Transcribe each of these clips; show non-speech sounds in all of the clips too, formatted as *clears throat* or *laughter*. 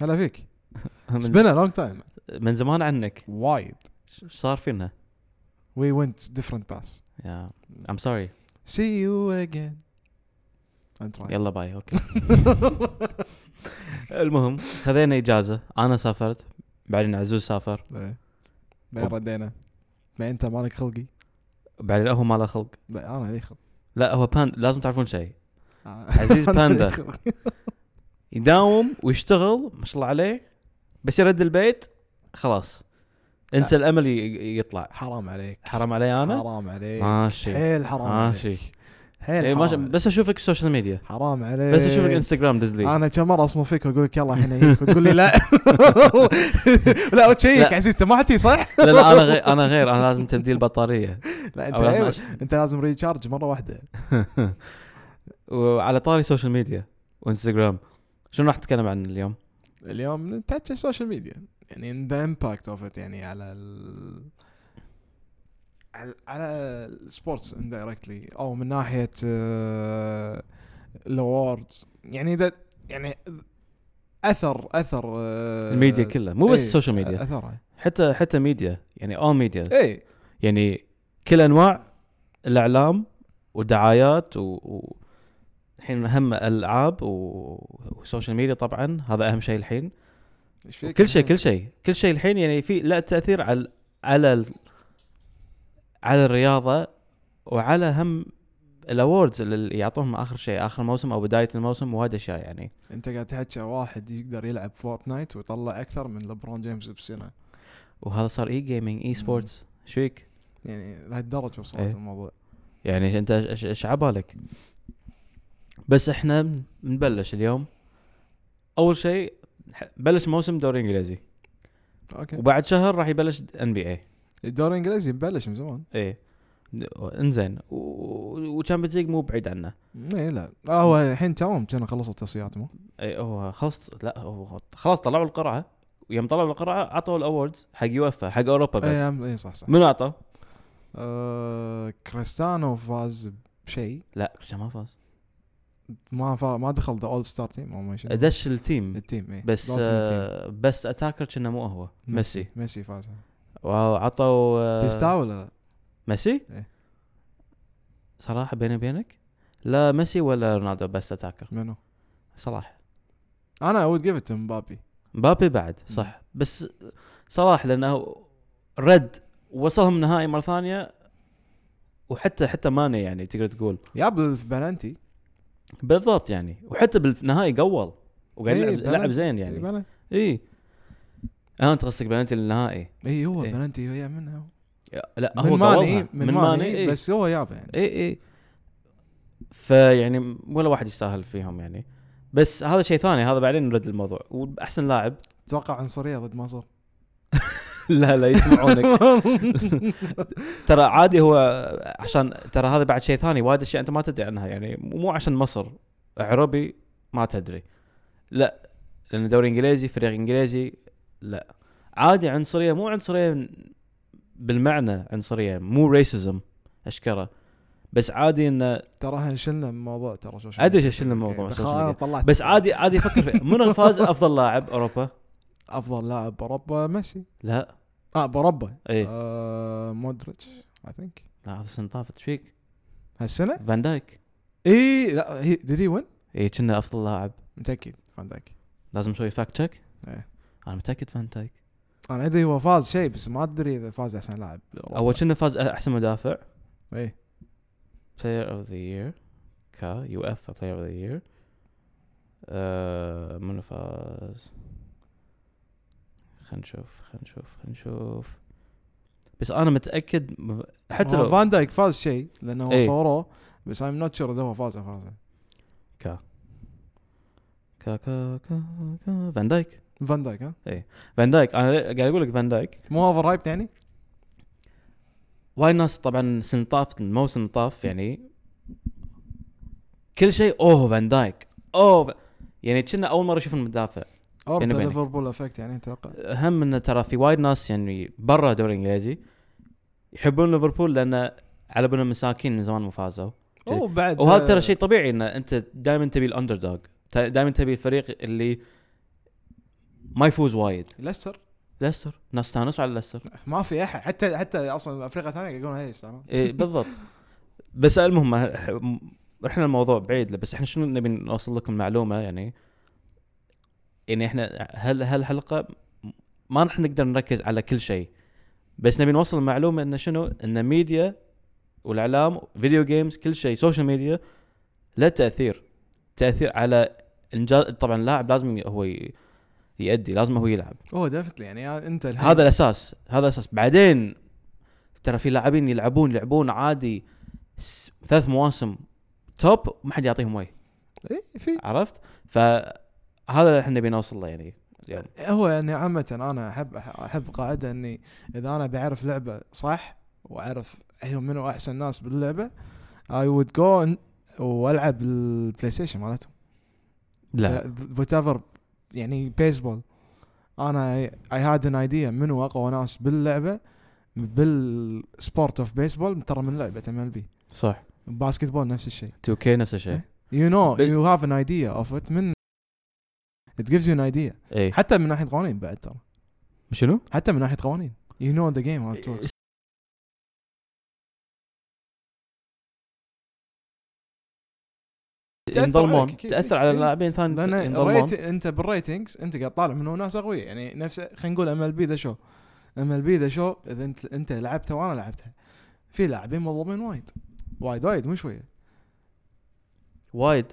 هلا فيك *laughs* It's been a long time من زمان عنك وايد شو صار فينا؟ We went different paths يا I'm sorry See you again I'm trying يلا باي اوكي *laughs* المهم خذينا اجازه انا سافرت بعدين عزوز سافر إيه. بعدين أوب. ردينا ما انت مالك خلقي بعدين هو ما له خلق لا انا لي خلق لا هو بان لازم تعرفون شيء *laughs* عزيز *laughs* عزيز باندا. يداوم ويشتغل ما شاء الله عليه بس يرد البيت خلاص انسى الامل ي- يطلع حرام عليك حرام علي انا حرام عليك ماشي حيل حرام ماشي. عليك حيل آه، إيه. إيه، حرام ماشي عليك. بس اشوفك السوشيال ميديا حرام عليك بس اشوفك انستغرام *laughs* دزلي انا كم مره اصمم فيك واقول لك يلا الحين هيك وتقول لي *laughs* لا لا وتشيك لا. عزيزته ما حتي صح؟ *laughs* لا لا انا غير انا غير انا لازم تبديل *laughs* بطاريه لا انت أو لازم عيب. أش- انت لازم ريتشارج مره واحده *laughs* وعلى طاري سوشيال ميديا وانستغرام شنو راح نتكلم عن اليوم؟ إيه. اليوم نتاتش السوشيال ميديا يعني ذا امباكت اوف ات يعني على ال... على- على السبورتس اندايركتلي او من ناحيه الاوردز يعني ذا يعني اثر اثر آه، الميديا كلها مو بس إيه، السوشيال ميديا اثرها حتى حتى ميديا يعني اول ميديا اي يعني كل انواع الاعلام والدعايات و, و... الحين هم الالعاب و- والسوشيال ميديا طبعا هذا اهم شيء الحين ايش فيك؟ يعني كل شيء كل شيء كل شيء الحين يعني في لا تاثير على على ال- على الرياضه وعلى هم الاوردز اللي يعطوهم اخر شيء اخر موسم او بدايه الموسم وايد اشياء يعني انت قاعد تحكي واحد يقدر يلعب فورتنايت ويطلع اكثر من لبرون جيمس بسنه وهذا صار اي جيمنج اي سبورتس ايش فيك؟ يعني لهالدرجه وصلت إيه. الموضوع يعني انت ايش ايش عبالك بس احنا بنبلش اليوم اول شيء ح- بلش موسم دوري انجليزي اوكي وبعد شهر راح يبلش ان بي اي الدوري الانجليزي مبلش من زمان ايه د- انزين و- وتشامبيونز ليج مو بعيد عنا اي لا آه، هو الحين توم كان خلص التصفيات مو اي إيه، هو خلاص لا هو خلاص طلعوا القرعه يوم طلعوا القرعه عطوا الاوردز حق يوفا حق اوروبا بس اي اي إيه، صح صح منو عطى؟ آه كريستانو فاز بشيء لا كريستيانو ما فاز ما فا ما دخل ذا اول ستار تيم او ما شنو إيه. دش التيم التيم اي بس الأولتيميت تيم. آه بس اتاكر كنا مو هو ميسي آه. ميسي فاز وعطوا آه، تستاهل ولا لا؟ ميسي؟ إيه. صراحة بيني وبينك لا ميسي ولا رونالدو بس اتاكر منو؟ صلاح انا اود جيف ات مبابي مبابي بعد صح بس صلاح لانه رد وصلهم نهائي مرة ثانية وحتى حتى ماني يعني تقدر تقول جاب البلنتي بالضبط يعني وحتى بالنهائي قول وقاعد إيه، يلعب بلد- لعب زين يعني يعني اي اه انت قصدك بلنتي للنهائي اي هو إيه. بلنتي هي منها لا هو من ماني قولها. من ماني إيه. بس هو يابا يعني اي اي فيعني ولا واحد يستاهل فيهم يعني بس هذا شيء ثاني هذا بعدين نرد الموضوع واحسن لاعب اتوقع عنصريه ضد مصر *laughs* لا لا يسمعونك *laughs* ترى عادي هو عشان ترى هذا بعد شيء ثاني وايد اشياء انت ما تدري عنها يعني مو عشان مصر عربي ما تدري لا لان دوري انجليزي فريق انجليزي لا عادي عنصريه مو عنصريه بالمعنى عنصريه مو ريسزم اشكره بس عادي انه ترى احنا شلنا من موضوع ترى شو يعني. أدري شو شلنا من موضوع أوكي، السوشيال خلاص ميديا. طلعت بس عادي عادي فكر فيه منو فاز افضل لاعب اوروبا؟ افضل لاعب باوروبا ميسي لا اه باوروبا اي آه مودريتش اي ثينك لا هذا السنه طافت ايش فيك؟ هالسنه فان دايك اي إيه، لا هي ديد وين اي كنا افضل لاعب متاكد فان دايك لازم نسوي فاكت تشيك إيه. انا متاكد فان دايك انا ادري هو فاز شيء بس ما ادري اذا فاز احسن لاعب إيه. بأوروبا. اول كنا فاز احسن مدافع اي بلاير اوف ذا يير كا يو اف بلاير اوف ذا يير آه، منو فاز؟ خلينا نشوف خلينا نشوف خلينا نشوف بس انا متاكد حتى هو لو إيه. فان دايك فاز شيء لانه هو إي. صوروه بس ايم نوت شور اذا هو فاز أو فاز كا كا كا كا كا فان دايك فان دايك ها فان دايك انا ليه- قاعد اقول لك فان دايك مو اوفر رايبت يعني؟ وايد ناس طبعا سنه طافت الموسم طاف يعني كل شيء اوه فان دايك اوه ف- يعني كنا اول مره اشوف المدافع اور بيني وبينك. ليفربول افكت يعني اتوقع هم انه ترى في وايد ناس يعني برا الدوري الانجليزي يحبون ليفربول لانه على بالهم مساكين من زمان ما فازوا اوه بعد إيه. وهذا ترى شيء طبيعي ان انت دائما تبي الاندر دوغ دائما تبي الفريق اللي ما يفوز وايد ليستر ليستر ناس استانسوا على ليستر ما في احد حتى حتى اصلا افريقيا ثانيه يقولون هي يستاهلون *laughs* إيه بالضبط بس المهم رحنا الموضوع بعيد له، بس احنا شنو نبي نوصل لكم معلومه يعني يعني احنا هل هالحلقه ما راح نقدر نركز على كل شيء بس نبي نوصل المعلومه انه شنو ان ميديا والاعلام فيديو جيمز كل شيء سوشيال ميديا له تاثير تاثير على انجاز طبعا اللاعب لازم هو ي- يأدي لازم هو يلعب اوه ديفتلي يعني انت الحين- هذا الاساس هذا الاساس بعدين ترى في لاعبين يلعبون يلعبون عادي س- ثلاث مواسم توب ما حد يعطيهم وي إيه، في عرفت فهذا اللي احنا نبي نوصل له يعني اليوم. هو يعني عامة انا احب احب قاعدة اني اذا انا بعرف لعبة صح واعرف هي منو احسن ناس باللعبة اي وود جو والعب البلاي ستيشن مالتهم لا وات ايفر يعني بيسبول انا اي هاد ان ايديا منو اقوى ناس باللعبة بالسبورت اوف بيسبول ترى من لعبة ام ال بي صح باسكتبول نفس الشيء 2K نفس الشيء يو نو بال- يو هاف ان ايديا اوف ات من it gives you an idea اي حتى من ناحية قوانين بعد ترى شنو؟ حتى من ناحيه قوانين يو نو ذا جيم هاو ات وركس تأثر ينظلمون عليك، أكيد. تاثر على إي. اللاعبين ثاني لان ينظلمون الريت- انت بالريتنجز انت قاعد طالع منه ناس اغوياء يعني نفس خلينا نقول ام ال بي ذا شو ام ال بي ذا شو اذا انت انت لعبتها وانا لعبتها في لاعبين مظلومين وايد وايد وايد مو شويه وايد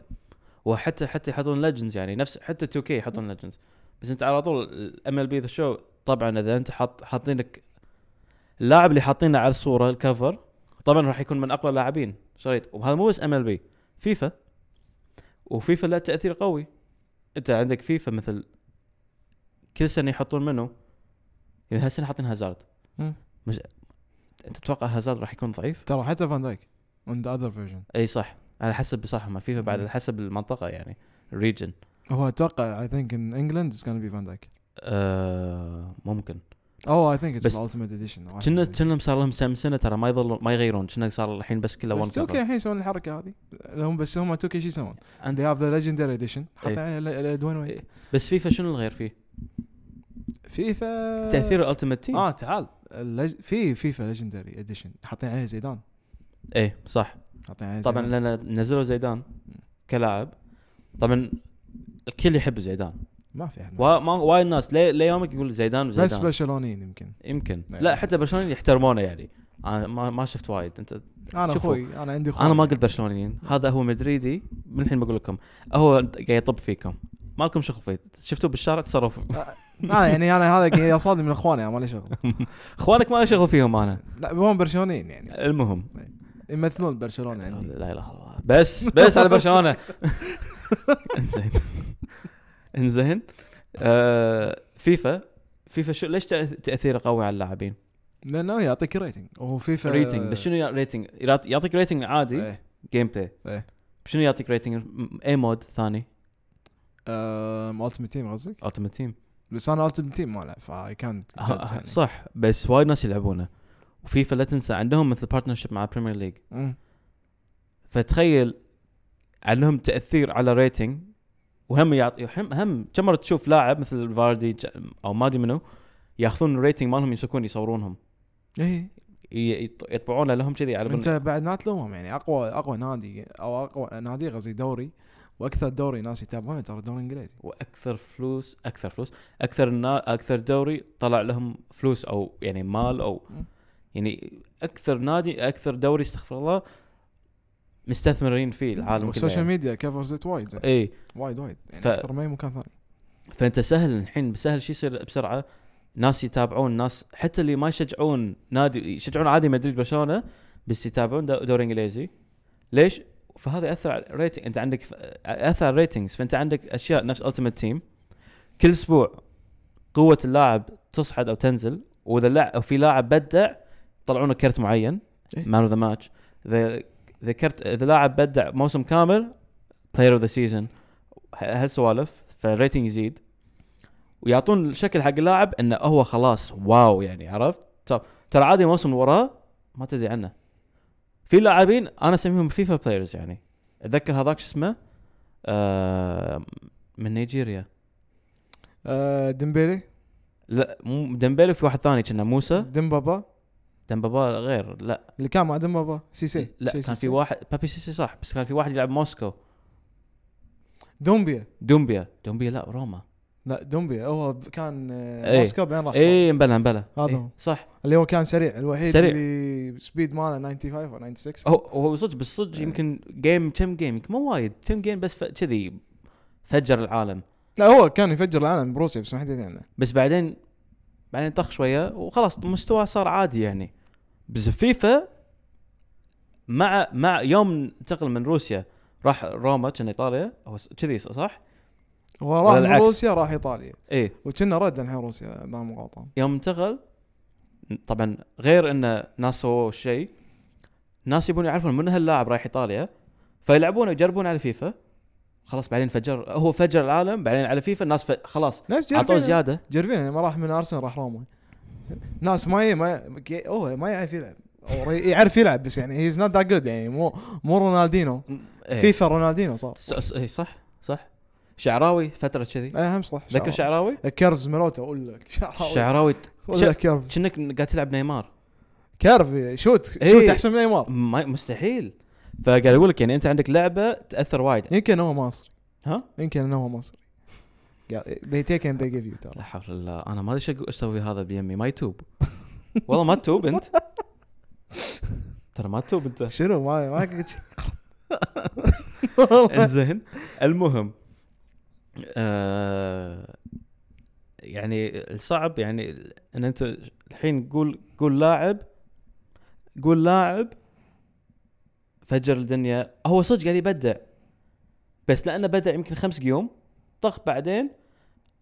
وحتى حتى يحطون ليجندز يعني نفس حتى 2K يحطون ليجندز بس انت على طول الام ال بي ذا شو طبعا اذا انت حاط حاطين لك اللاعب اللي حاطينه على الصوره الكفر طبعا راح يكون من اقوى اللاعبين شريط وهذا مو بس ام ال بي فيفا وفيفا لها تاثير قوي انت عندك فيفا مثل كل سنه يحطون منه يعني هالسنه حاطين هازارد مم. مش انت تتوقع هازارد راح يكون ضعيف؟ ترى حتى فان دايك اون ذا اذر فيرجن اي صح على حسب صح ما فيفا بعد مم. على حسب المنطقه يعني الريجن هو اتوقع اي ثينك ان انجلند از gonna بي فان دايك آه ممكن او اي ثينك اتس بس- الالتيميت اديشن كنا كنا صار لهم سنه سنه ترى ما يظل ما يغيرون كنا صار الحين بس كله بس وان 2 الحين يسوون الحركه هذه هم بس هم 2 شو يسوون؟ they have the legendary edition حاطين إيه. عليها ال- الادوان وايد بس فيفا شنو الغير فيه؟ إيه. فيفا تاثير الالتيميت تيم اه تعال اللج... في فيفا ليجندري اديشن حاطين عليه زيدان ايه صح حاطين عليه طبعا زيدان. لان نزلوا زيدان كلاعب طبعا الكل يحب زيدان ما في احد وا- ما- وايد ناس لي- ليومك يقول زيدان وزيدان بس برشلونيين يمكن يمكن نعم. لا حتى برشلونه يحترمونه يعني انا ما ما شفت وايد انت انا شوفوا، اخوي انا عندي اخوي انا ما قلت برشلونيين هذا هو مدريدي من الحين بقول لكم هو قاعد يطب فيكم ما لكم شغل فيه شفتوه بالشارع تصرفوا *laughs* لا يعني انا هذا قاعد يصادم من اخواني أنا ما لي شغل اخوانك ما له شغل فيهم انا لا هم برشلونيين يعني المهم يمثلون برشلونه لا عندي اله الا الله بس بس على *laughs* برشلونه انزين انزين آه فيفا فيفا شو ليش تأث- تاثيره قوي على اللاعبين؟ لانه يعطيك ريتنج وهو فيفا ريتنج بس شنو يع- ريتنج؟ يعط- يعطيك ريتنج عادي آه. إيه. جيم بلاي إيه. شنو يعطيك ريتنج م- اي مود ثاني آه التيم تيم قصدك التيمت تيم بس انا التيمت تيم ما العب فاي كان آه، يعني. صح بس وايد ناس يلعبونه وفيفا لا تنسى عندهم مثل بارتنرشيب مع بريمير ليج فتخيل عندهم تاثير على ريتنج وهم يعطي هم هم كم مره تشوف لاعب مثل فاردي ج- او ما ادري منو ياخذون الريتنج مالهم يمسكون يصورونهم ايه ي- يط- يطبعونه لهم كذي على انت بن- بعد ما تلومهم يعني اقوى اقوى نادي او اقوى نادي قصدي دوري واكثر دوري ناس يتابعونه ترى الدوري الانجليزي واكثر فلوس اكثر فلوس اكثر نا اكثر دوري طلع لهم فلوس او يعني مال او م. يعني اكثر نادي اكثر دوري استغفر الله مستثمرين فيه العالم كله والسوشيال يعني. ميديا كفرز ات وايد زين. اي وايد وايد يعني ف- اكثر من اي مكان ثاني فانت سهل الحين سهل شو يصير بسرعه ناس يتابعون ناس حتى اللي ما يشجعون نادي يشجعون عادي مدريد برشلونه بس يتابعون دو- دوري انجليزي ليش؟ فهذا ياثر على الريتنج انت عندك اثر على الريتنجز فانت عندك اشياء نفس التيمت تيم كل اسبوع قوه اللاعب تصعد او تنزل واذا لا او في لاعب بدع يطلعون له كرت معين إيه. مان اوف ذا ماتش اذا اذا كرت اذا لاعب بدع موسم كامل بلاير اوف ذا سيزون هالسوالف فالريتنج يزيد ويعطون الشكل حق اللاعب انه هو خلاص واو يعني عرفت ت- ترى عادي موسم وراه ما تدري عنه في لاعبين انا اسميهم فيفا بلايرز يعني اتذكر هذاك شو اسمه آه من نيجيريا آه، ديمبيلي لا مو ديمبلي في واحد ثاني كنا موسى ديمبابا ديمبابا غير لا اللي كان مع ديمبابا سيسي إيه، لا كان شي سيسي. في واحد بابي سيسي صح بس كان في واحد يلعب موسكو دومبيا دومبيا دومبيا لا روما لا دومبيا هو ب- كان آه، إيه. موسكو بعدين راح اي مبلا مبلا هذا إيه، هو. صح اللي هو كان سريع الوحيد سريع. اللي سبيد ماله 95 او 96 هو هو صدق بالصدق إيه. يمكن جيم كم جيم يمكن مو وايد كم جيم بس ف- كذي فجر العالم لا هو كان يفجر العالم بروسيا بس ما حد يدري عنه بس بعدين بعدين طخ شويه وخلاص مستواه صار عادي يعني بس فيفا مع مع يوم انتقل من روسيا راح روما كان ايطاليا هو س- كذي صح؟ هو راح ولا من العكس. روسيا راح ايطاليا ايه وكنا رد الحين روسيا اذا ما غلطان يوم انتقل طبعا غير انه ناس سووا شيء ناس يبون يعرفون من هاللاعب رايح ايطاليا فيلعبونه يجربون على فيفا خلاص بعدين فجر هو فجر العالم بعدين على فيفا الناس ف... خلاص ناس عطوه جرفين زياده جرفين لما راح من ارسنال راح روما ناس ما ي... ما ي- اوه ما يعرف يلعب أو ي- يعرف يلعب بس يعني هيز نوت ذات جود يعني مو مو رونالدينو إيه. فيفا رونالدينو صار س- س- اي صح صح شعراوي فتره كذي اي إيه، هم صح إيه، ذكر شعراوي؟ كيرفز ملوتا اقول لك شعراوي شعراوي ولا كيرفز كأنك قاعد تلعب نيمار كيرف شوت إيه. شوت احسن من نيمار ما مستحيل فقاعد اقول لك يعني انت عندك لعبه تاثر وايد يمكن هو مصري ها؟ يمكن انه هو مصري قال- they take and they give you ترى لا حول الله انا ما ادري شو أقول- اسوي هذا بيمي ما يتوب *laughs* والله ما تتوب *laughs* انت ترى ما تتوب *laughs* انت شنو ما ما قلت *laughs* شي. انزين المهم آه يعني الصعب يعني ان انت الحين قول قول لاعب قول لاعب فجر الدنيا هو صدق قاعد يبدع بس لانه بدع يمكن خمس قيوم طخ بعدين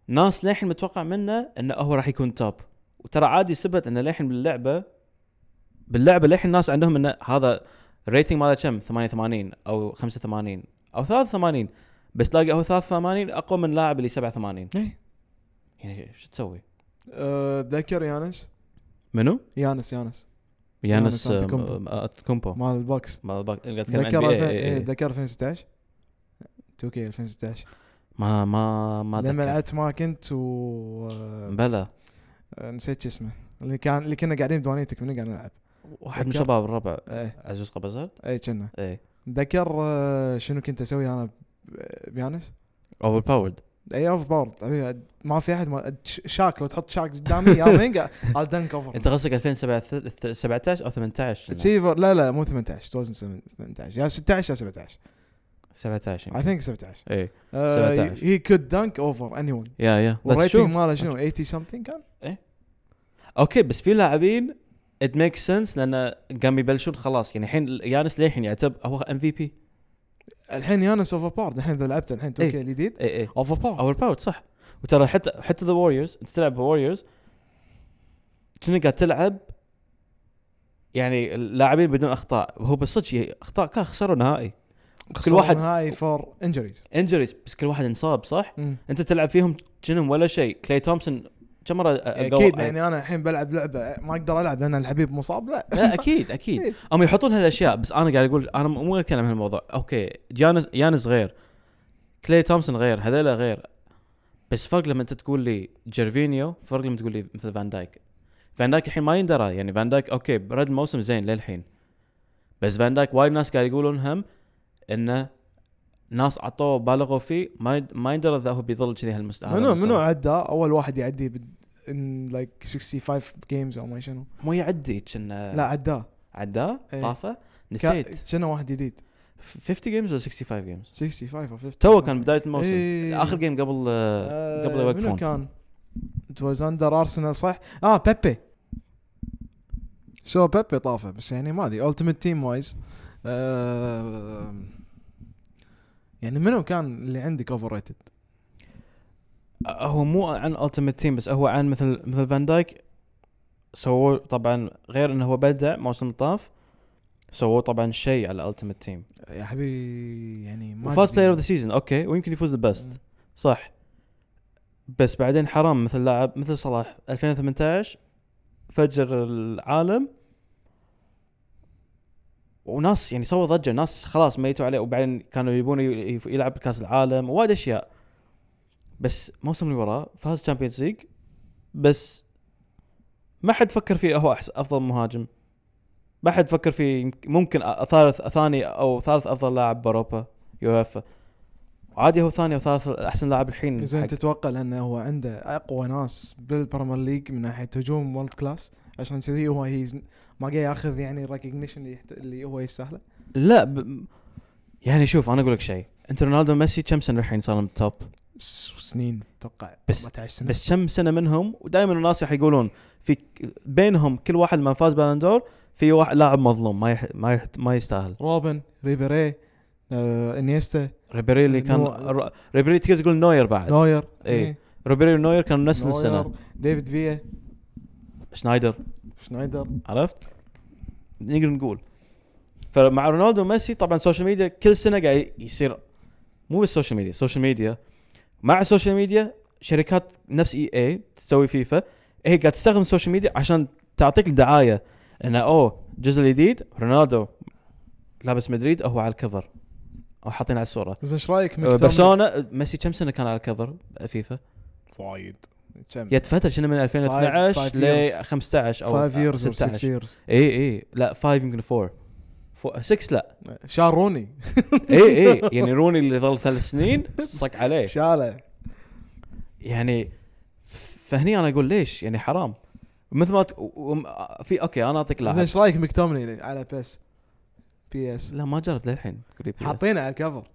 ناس للحين متوقع منه انه هو راح يكون توب وترى عادي ثبت انه للحين باللعبه باللعبه للحين الناس عندهم انه هذا الريتنج ماله كم 88 او 85 او 83 بس تلاقي هو 83 اقوى من لاعب اللي 87 إيه. يعني شو تسوي؟ آه، ذكر يانس منو؟ يانس يانس يانس يانس آم، أنتكومبو. آم، أتكومبو مال البوكس ما أتذكر- قاعد أتكلم ذكر NBA. الفين- إيه، إيه، إيه. ذكر 2016 2K 2016 ما ما ما لما أتذكر. لعبت ما كنت و آه، بلا آه، نسيت شو اسمه اللي كان اللي كنا قاعدين بدوانيتك من قاعد نلعب واحد من ذكر. شباب الربع ايه عزوز قبزل ايه كنا ايه ذكر آه، شنو كنت اسوي انا ب- إيه، بيانس اوفر باورد اي اوف باور طبيعي ما في احد ما ش- شاك لو تحط شاك قدامي *laughs* يا مينجا على دنك اوفر انت قصدك 2017 او *laughs* 18 سيفر لا لا مو 18 2018 يا 16 يا 17 17 اي ثينك 17 ايه آه، 17. هي كود دنك اوفر اني ون يا يا بس شوف والريتنج ماله شنو 80 something كان اوكي بس في لاعبين ات ميك سنس لان قام يبلشون خلاص يعني الحين يانس للحين يعتبر هو ام في بي الحين يانس اوفر بارد الحين اذا لعبت الحين 2 إيه. الجديد اي اي اوفر بارد اور باورد صح وترى حتى حتى ذا ووريرز انت تلعب ووريرز كأنك قاعد تلعب يعني اللاعبين بدون اخطاء هو بالصدق ي- اخطاء كان خسروا نهائي كل واحد- واحد هاي فور انجريز انجريز بس كل واحد انصاب صح؟ انت تلعب فيهم كأنهم ولا شيء كلي تومسون كم مره أقوى- اكيد يعني انا الحين بلعب لعبه ما اقدر العب لان الحبيب مصاب لا لا اكيد اكيد إيه. هم يحطون هالاشياء بس انا قاعد اقول انا مو قاعد اتكلم عن هالموضوع اوكي جانس يانس غير كلي تومسون غير هذيلا غير بس فرق لما انت تقول لي جيرفينيو فرق لما تقول لي مثل فان دايك فان دايك الحين ما يندرى يعني فان دايك اوكي رد الموسم زين للحين بس فان دايك وايد ناس قاعد يقولون هم انه ناس عطوه بالغوا فيه ما يد- ما يندرى اذا هو بيظل كذي هالمستوى منو منو عدى اول واحد يعدي ان لايك 65 جيمز او ما شنو مو يعدي كنا لا عداه عداه إيه. طافه نسيت نسيت كنا واحد جديد 50 جيمز ولا 65 جيمز 65 او 50 تو كان بدايه الموسم إيه. اخر جيم قبل آه، آه، قبل منو يوقفون كان؟ ات واز اندر ارسنال صح؟ اه بيبي سو بيبي طافه بس يعني ما ادري التيمت تيم وايز آه، يعني منو كان اللي عندك اوفر ريتد؟ آه، هو مو عن التيمت تيم بس هو عن مثل مثل فان دايك سووه طبعا غير انه هو بدع موسم طاف سووه طبعا شيء على التيمت تيم يا حبيبي يعني ما وفاز أدري. بلاير اوف ذا سيزون اوكي ويمكن يفوز ذا بيست صح بس بعدين حرام مثل لاعب مثل صلاح 2018 فجر العالم وناس يعني سوى ضجه ناس خلاص ميتوا عليه وبعدين كانوا يبون ي- يف- يلعب كاس العالم ووايد اشياء بس موسم اللي وراه فاز تشامبيونز ليج بس ما حد فكر فيه هو أحس- افضل مهاجم ما حد فكر فيه يمك- ممكن أ- ثالث ثاني او ثالث افضل لاعب باوروبا يوفا عادي هو ثاني او ثالث احسن لاعب الحين زين حق- تتوقع لانه هو عنده اقوى ناس بالبريمير ليج من ناحيه هجوم وورلد كلاس عشان كذي هو هيز ما قاعد ياخذ يعني الريكوجنيشن اللي, يحت... اللي هو يستاهله لا ب... يعني شوف انا اقول لك شيء انت رونالدو وميسي كم سنه الحين صاروا بالتوب س- سنين اتوقع بس- 14 سنه بس كم سنه منهم ودائما الناس راح يقولون في ك- بينهم كل واحد ما فاز بالندور في واحد لاعب مظلوم ما يح... ما يح... ما يستاهل روبن ريبيري آه، انيستا ريبيري اللي كان نو- ر- ريبيري تقدر تقول نوير بعد نوير إيه. ريبيري ونوير كانوا نفس نوير، السنه ديفيد فيا شنايدر شنايدر عرفت نقدر نقول فمع رونالدو وميسي طبعا السوشيال ميديا كل سنه قاعد يصير مو بس السوشيال ميديا السوشيال ميديا مع السوشيال ميديا شركات نفس اي اي تسوي فيفا هي قاعد تستخدم السوشيال ميديا عشان تعطيك دعايه انه اوه الجزء الجديد رونالدو لابس مدريد هو على الكفر او حاطين على الصوره زين ايش آه، رايك ميك تامر؟ برشلونه ميسي كم سنه كان على الكفر فيفا؟ وايد كم يتفتر شنو من 2012 five ل 15 او 5 years or 6 16 years اي اي إيه، لا 5 يمكن 4 6 لا شال روني إيه. اي *laughs* اي يعني روني اللي ظل ثلاث سنين صك عليه شاله يعني ف- فهني انا اقول ليش يعني حرام مثل ما ت... و- و- في اوكي انا اعطيك زين لاعب ايش رايك مكتومني على بس بي اس لا ما جربت للحين تقول لي PS. حاطينه على الكفر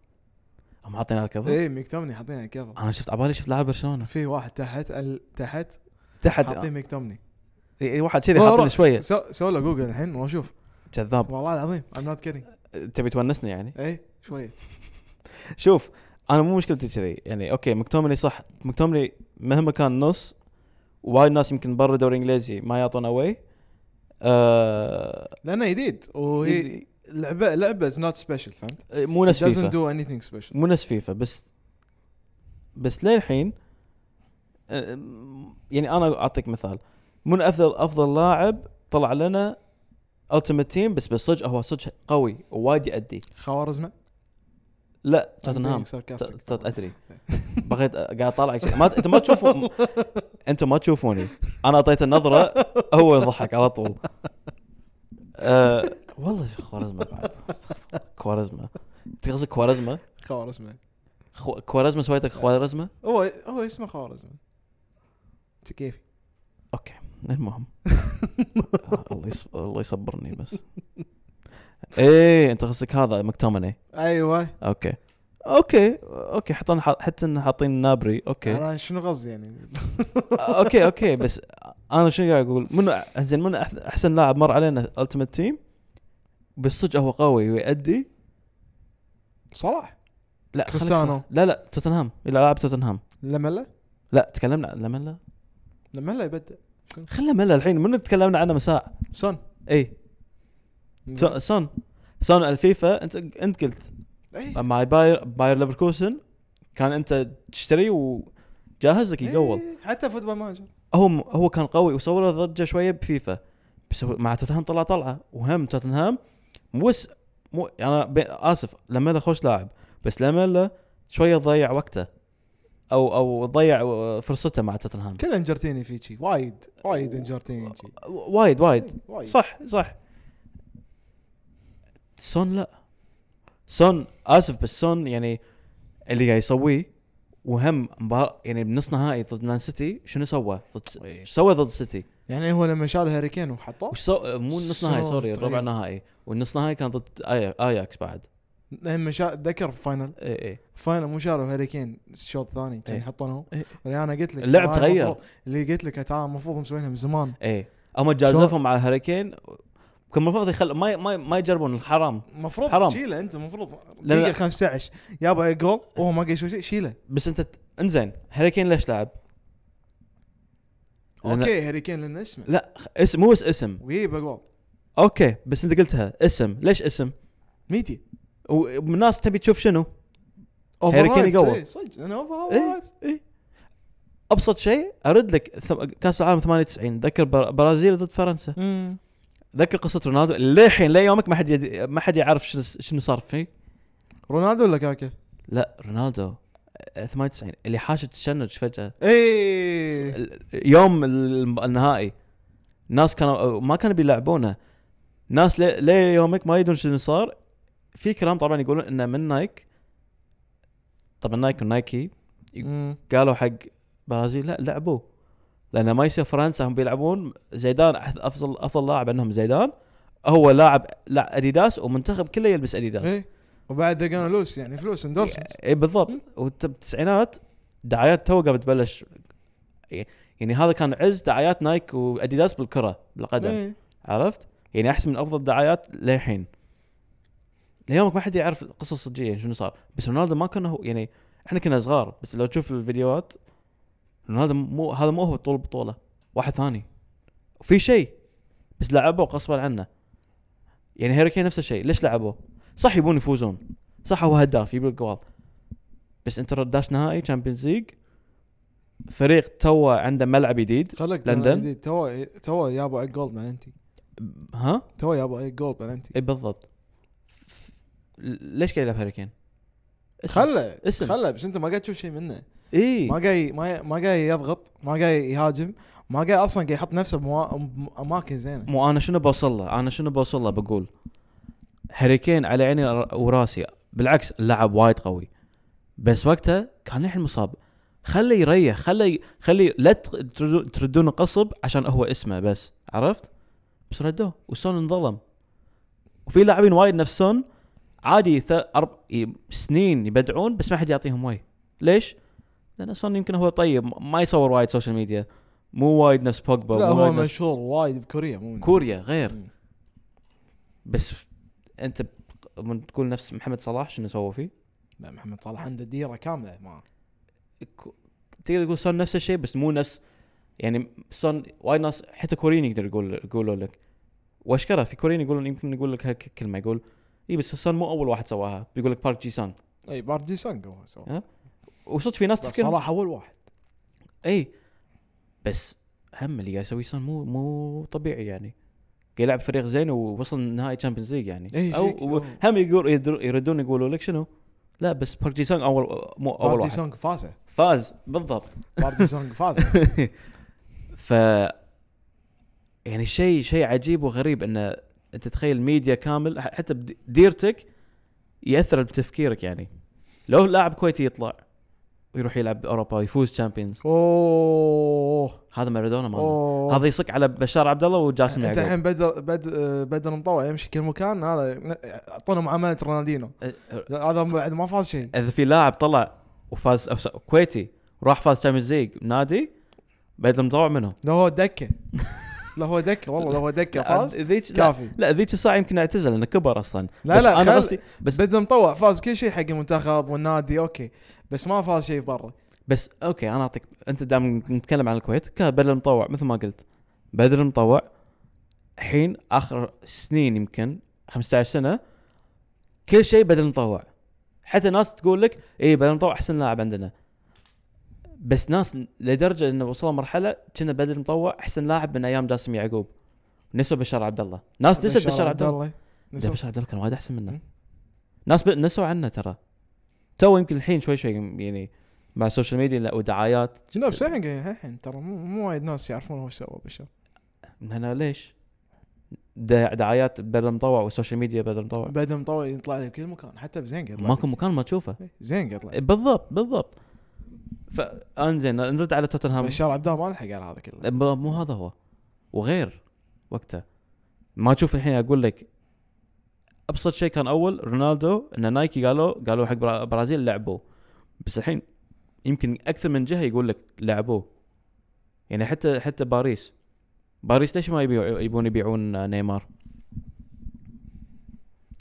هم حاطين على الكفر اي مكتومني حاطينه على الكفر انا شفت عبالي شفت لاعب برشلونه في واحد تحت ال... تحت تحت حاطين مكتومني إي- واحد كذي حاطين له شويه سو... سو له جوجل الحين واشوف جذاب والله العظيم I'm not kidding إيه، تبي تونسني يعني اي شويه شوف انا مو مشكلتي كذي يعني اوكي مكتومني صح مكتومني مهما كان نص وايد ناس يمكن برا الدوري الانجليزي ما يعطونه واي آه إيه، لانه جديد وهي لعبه لعبه از نوت سبيشل فهمت؟ مو It نفس doesn't فيفا do anything special مو نفس فيفا بس بس للحين آه، يعني انا اعطيك مثال من افضل افضل لاعب طلع لنا التيمت تيم بس بالصج هو صج قوي ووايد يأدي خوارزمه لا I'm توتنهام being sarcastic. ت- ت- ادري بغيت أ- قاعد اطالعك شي. ما انت ما تشوفون انتم ما تشوفوني انا اعطيت النظره هو يضحك على طول *laughs* أه والله شو خوارزمه بعد استغفر الله. كوارزمه انت قصدك كوارزمه خوارزمه خو... كوارزمه سويتك خوارزمه هو هو اسمه خوارزمه انت *laughs* كيفي اوكي المهم آه، الله يص... الله يصبرني بس ايه انت قصدك هذا مكتومني ايوه اوكي اوكي اوكي حطينا حتى إن حاطين نابري اوكي انا شنو قصدي يعني اوكي اوكي بس انا شنو قاعد اقول منو زين منو أح- احسن لاعب مر علينا التيمت تيم بالصدق هو قوي ويأدي صلاح لا خليك كريستيانو. صح. لا لا توتنهام لا لاعب توتنهام لملا لا تكلمنا عن لملا لملا يبدأ خلى ملا الحين منو تكلمنا عنه مساء سون اي سون- سون سون الفيفا انت انت قلت إيه. مع باير باير ليفركوزن كان انت تشتري وجاهز لك يقول إيه، حتى فوتبول مانجر هو هو كان قوي وصور ضجه شويه بفيفا بس هو مع توتنهام طلع طلعه وهم توتنهام مو س- مو انا ب- اسف لما خوش لاعب بس لما شويه ضيع وقته او او ضيع آه، فرصته مع توتنهام كل انجرتيني فيه شي وايد وايد انجرتيني شي وايد وايد وايد صح صح سون لا سون اسف بس سون يعني اللي قاعد يسويه وهم مبار- يعني بنص نهائي ضد مان سيتي شنو سوى؟ ضد إيه. سوى ضد سيتي يعني هو لما شال هاري كين وحطه وش سو... مو النص نهائي صوت سوري الربع طيب. نهائي والنص نهائي كان ضد آي... اياكس بعد لما شال ذكر في فاينل اي اي فاينل مو شالوا هاري كين الشوط الثاني كان إيه. يحطونه هو إيه. اللي انا قلت لك اللعب ترى تغير. المفروض- اللي قلت لك ترى المفروض مسوينها من زمان اي إيه. هم جازفهم مع هاريكين كان المفروض يخل ما ي... ما, ي... ما يجربون الحرام المفروض حرام. شيله انت المفروض لا. دقيقه 15 يابا إيه جول وهو ما قاعد يسوي شيء شيله بس انت ت- انزين هاريكين ليش لعب؟ لأن- اوكي هاري كين لان اسمه لا خ- اسم مو بس اسم ويجيب جول اوكي بس انت قلتها اسم ليش اسم؟ ميديا والناس تبي تشوف شنو؟ هاري كين Overhyped. يقوى. إيه، صدق انا إيه. اوفر ابسط شيء ارد لك ثم... كاس العالم 98 ذكر بر... برازيل ضد فرنسا ذكر قصه رونالدو للحين ليومك ما حد يد... ما حد يعرف شنو شنو صار فيه رونالدو ولا كاكا؟ لا رونالدو 98 اللي حاش تشنج فجاه س- اي ال- يوم ال- النهائي ناس كانوا آه، ما كانوا بيلعبونه ناس لي- ليه يومك ما يدرون شنو صار في كلام طبعا يقولون انه من نايك طبعا نايك ونايكي قالوا حق برازيل لا لعبوه لان ما يصير فرنسا هم بيلعبون زيدان أح- افضل افضل لاعب عندهم زيدان هو لاعب لا اديداس ومنتخب كله يلبس اديداس اي إيه. وبعد دقنا لوس يعني فلوس اندورسمنت اي بالضبط مم. وانت بالتسعينات دعايات تو قامت تبلش يعني هذا كان عز دعايات نايك واديداس بالكره بالقدم إيه. عرفت؟ يعني احس من افضل الدعايات للحين. ليومك ما حد يعرف القصه الصجيه شنو صار، بس رونالدو ما كان هو يعني احنا كنا صغار بس لو تشوف الفيديوهات رونالدو مو هذا مو هو طول البطوله، واحد ثاني. وفي شيء بس لعبه وغصبا عنه. يعني هاري كين نفس الشيء، ليش لعبوه؟ صح يبون يفوزون، صح هو هداف يبي الجوال. بس انت داش نهائي تشامبيونز ليج فريق تو عنده ملعب جديد خلك لندن. لندن تو تو يابا جولد بلنتي ها؟ تو يابا جولد بلنتي اي إيه، بالضبط ف- ليش قاعد يلعب هاريكين؟ خله اسم. إيه. خله بس انت ما قاعد تشوف شيء منه اي ما جاي ما ما جاي يضغط ما جاي يهاجم ما جاي اصلا قاعد يحط نفسه باماكن زينه مو انا شنو بوصل له؟ انا شنو بوصل له بقول هاريكين على عيني ر- وراسي بالعكس اللاعب وايد قوي بس وقتها كان الحين مصاب خله يريح خله ي- خله لا تق- تردو- تردون قصب عشان هو اسمه بس عرفت؟ بس ردوه وسون انظلم وفي لاعبين وايد نفس سون عادي ث... أرب... ي- سنين يبدعون بس ما حد يعطيهم واي ليش؟ لان سون يمكن هو طيب م- ما يصور وايد سوشيال ميديا مو وايد نفس بوجبا لا مو هو وايد نفس- مشهور وايد بكوريا مو من- كوريا غير مم. بس انت بق- من تقول نفس محمد صلاح شنو سوى فيه؟ لا محمد صلاح عنده ديره كامله ما ك- تقدر تقول سون نفس الشيء بس مو نفس يعني سون وايد ناس حتى كوريين يقدر يقول يقولوا لك واشكره في كوريين يقولون يمكن يقول لك هالكلمه يقول اي بس سون مو اول واحد سواها بيقول لك بارك جي سون اي باردي سانج هو سوى. أه؟ وصدق في ناس بس تفكر صلاح اول واحد اي إيه. بس هم اللي قاعد يسويه سون مو مو طبيعي يعني قاعد يلعب فريق زين ووصل نهائي تشامبيونز ليج يعني إيه، فيك، او أو. هم يقول يدر- يردون يقولوا لك شنو لا بس بارك جي سونغ اول مو اول باردي واحد سانج فازه فاز بالضبط باردي سانج فازه *laughs* ف يعني شيء شيء عجيب وغريب انه انت تخيل ميديا كامل ح- حتى بدي- ديرتك ياثر بتفكيرك يعني لو لاعب كويتي يطلع ويروح يلعب باوروبا ويفوز تشامبيونز اوه هذا مارادونا مالنا اوه هذا يصك على بشار عبد الله وجاسم انت يعقوب الحين بدر بد بدر مطوع يمشي كل مكان هذا اعطونا معامله رونالدينو أه، هذا بعد ما فاز شيء اذا في لاعب طلع وفاز أو س- كويتي وراح فاز تشامبيونز ليج نادي بدل مطوع منهم لا هو دكه لا هو دكه والله لا هو دكه فاز ذيك لا, كافي لا ذيك الساعه يمكن اعتزل لانه كبر اصلا لا بس لا انا خل- قصدي بس بدر مطوع فاز كل شيء حق المنتخب والنادي اوكي بس ما فاز شيء برا بس اوكي انا اعطيك انت دام نتكلم عن الكويت كان بدر مطوع مثل ما قلت بدر مطوع الحين اخر سنين يمكن 15 سنه كل شيء بدر مطوع حتى ناس تقول لك اي بدر مطوع احسن لاعب عندنا بس ناس لدرجه انه وصلوا مرحله كنا بدر مطوع احسن لاعب من ايام جاسم يعقوب نسوا بشار عبد الله ناس نسوا بشار عبد الله لا الله بشار عبد الله كان وايد احسن منه مم. ناس ب... نسوا عنه ترى تو يمكن الحين شوي شوي يعني مع السوشيال ميديا لا، ودعايات جناب سهنج الحين ترى مو مو وايد ناس يعرفون هو سوى بشر من هنا ليش؟ دا- دعايات بدل مطوع والسوشيال ميديا بدل مطوع بدر مطوع طيب. يطلع لي بكل مكان حتى بزينج يطلع ماكو لك. مكان ما تشوفه إيه، زينج يطلع لك. بالضبط بالضبط فانزين نرد على توتنهام بشار عبد الله ما لحق على هذا كله ب- مو هذا هو وغير وقته ما تشوف الحين اقول لك ابسط شيء كان اول رونالدو ان نايكي قالوا قالوا حق برا- برازيل لعبوه بس الحين يمكن اكثر من جهه يقول لك لعبوه يعني حتى حتى باريس باريس ليش ما يبيع يبون يبيعون نيمار؟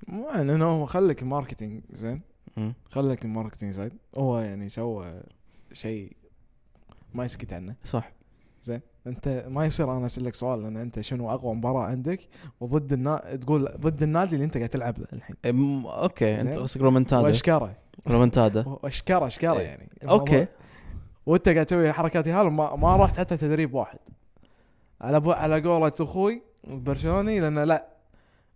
مو لانه هو خلك الماركتينج زين مم. خلك الماركتينج سايد هو يعني سوى شيء ما يسكت عنه صح زين انت ما يصير انا اسالك سؤال لان انت شنو اقوى مباراه عندك وضد النا... تقول ضد النادي اللي انت قاعد تلعب له الحين أم، اوكي انت زين. قصدك رومنتادا واشكره رومنتادا واشكره اشكره إيه. يعني اوكي الموضوع- وانت قاعد تسوي حركات هال ما, ما رحت حتى تدريب واحد على بو... على قولة اخوي البرشلوني لانه لا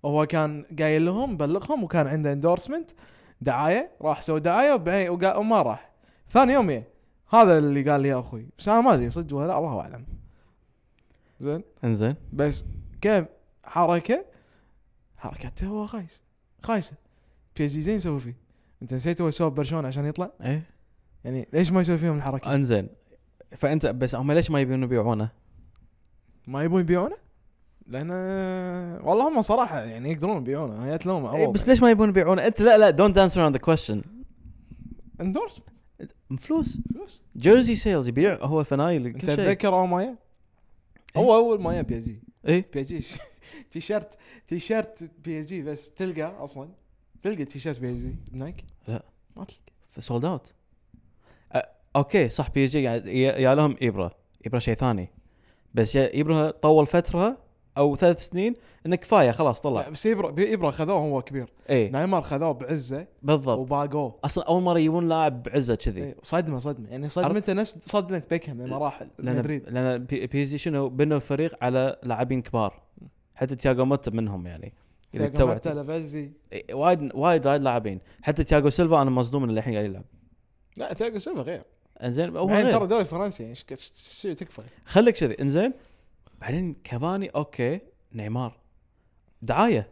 هو كان قايل لهم بلغهم وكان عنده اندورسمنت دعايه راح سوى دعايه وبعدين وقا- وما راح ثاني يوم يا هذا اللي قال لي يا اخوي بس انا ما ادري صدق ولا لا الله اعلم زين انزين بس كم حركه حركته هو خايس خايسه بي اس جي زين يسوي فيه انت نسيت هو يسوي برشلونه عشان يطلع ايه يعني ليش ما يسوي فيهم الحركه انزين فانت بس هم ليش ما يبون يبيعونه؟ ما يبون يبيعونه لان والله هم صراحه يعني يقدرون يبيعونه هي تلوم إيه بس ليش ما يبون يبيعونه؟ انت لا لا دونت دانس اراوند ذا كويشن اندورس فلوس فلوس جيرزي سيلز يبيع هو فنايل انت كل شيء إيه. تتذكر اول ما يا؟ هو اول ما يا بي اس جي ايه بي اس جي *laughs* تيشيرت تيشيرت بي اس جي بس تلقى اصلا تلقى تيشيرت بي اس جي بنايك لا. ما تلقى سولد اوت اوكي صح بي جي قاعد يا يا لهم ابره ابره شيء ثاني بس يا ابره طول فتره او ثلاث سنين انه كفايه خلاص لا، طلع بس ابرا ابرا خذوه هو كبير اي نايمار خذوه بعزه بالضبط وباقوه اصلا اول مره يجيبون لاعب بعزه كذي إيه، صدمه صدمه يعني صدمته نفس صدمه بيكهام لمراحل لان مدريد لان بي بي جي شنو بنوا فريق على لاعبين كبار حتى تياغو موتا منهم يعني اذا تابعت تتوعت لافازي إيه، وايد وايد وايد لاعبين حتى تياغو سيلفا انا مصدوم انه الحين قاعد يلعب لا ثياغو سيلفا غير انزين هو بعدين غير. ترى دوري فرنسي يعني ش- ش- شي تكفى خليك كذي انزين بعدين كفاني اوكي نيمار دعايه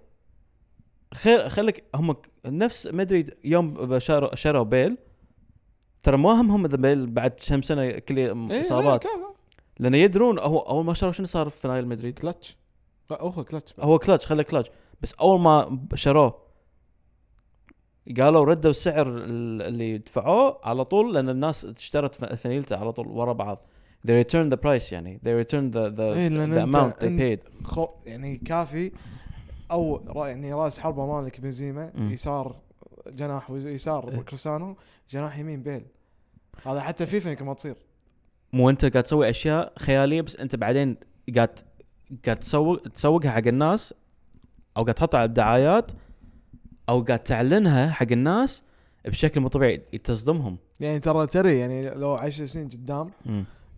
خير خليك هم ك- نفس مدريد يوم شاروا شاروا بيل ترى ما همهم اذا بيل بعد كم سنه كل إيه، اصابات لا، كفى. لان يدرون هو اول ما شاروا شنو صار في نايل مدريد كلتش لا، هو كلتش هو كلتش خليه كلتش بس اول ما شاروه قالوا ردوا السعر ال- اللي دفعوه على طول لان الناس اشترت ف- فنيلته على طول ورا بعض they returned the price يعني they returned the the, إيه، لأن the أنت- amount they أنت- paid خو يعني كافي او را- يعني راس حربه مالك بنزيما مم. يسار جناح وز- إيه. يسار كريستيانو جناح يمين بيل هذا حتى فيفا يمكن ما تصير مو انت قاعد تسوي اشياء خياليه بس انت بعدين قاعد قاعد تسوق تسوقها حق الناس او قاعد تحطها على الدعايات او قاعد تعلنها حق الناس بشكل مو طبيعي تصدمهم يعني ترى تري يعني لو عشر سنين قدام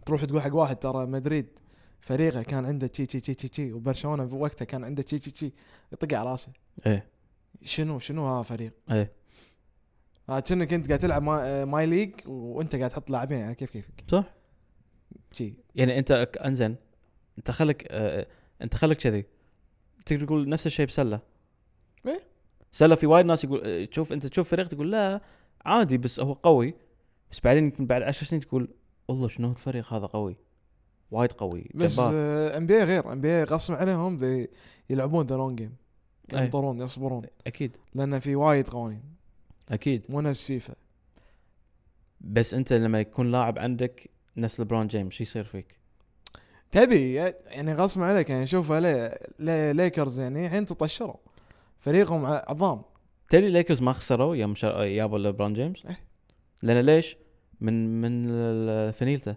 تروح تقول حق واحد ترى مدريد فريقه كان عنده تشي تشي تشي تشي تشي وبرشلونه في وقتها كان عنده تشي تشي تشي يطق على راسه ايه شنو شنو ها فريق؟ ايه آه، كأنك انت قاعد تلعب ما- آه، ماي ليج وانت قاعد تحط لاعبين على كيف كيفك صح تشي يعني انت ك- انزين انت خلك اه انت خلك كذي تقدر تقول نفس الشيء بسله ايه. سله في وايد ناس يقول اه، تشوف انت تشوف فريق تقول لا عادي بس هو قوي بس بعدين يمكن بعد عشر سنين تقول والله شنو الفريق هذا قوي وايد قوي بس آه، جبار. ام بي غير ام بي غصب عليهم ذي- يلعبون ذا لونج جيم أي. ينطرون يصبرون اكيد لان في وايد قوانين اكيد مو نفس فيفا بس انت لما يكون لاعب عندك نفس لبرون جيمس شو يصير فيك؟ تبي يعني غصب عليك يعني شوف لي لي ليكرز يعني الحين تطشروا فريقهم ع- عظام تدري ليكرز ما خسروا يوم شر... يابوا لبرون جيمس؟ ايه. لان ليش؟ من من ال- فنيلته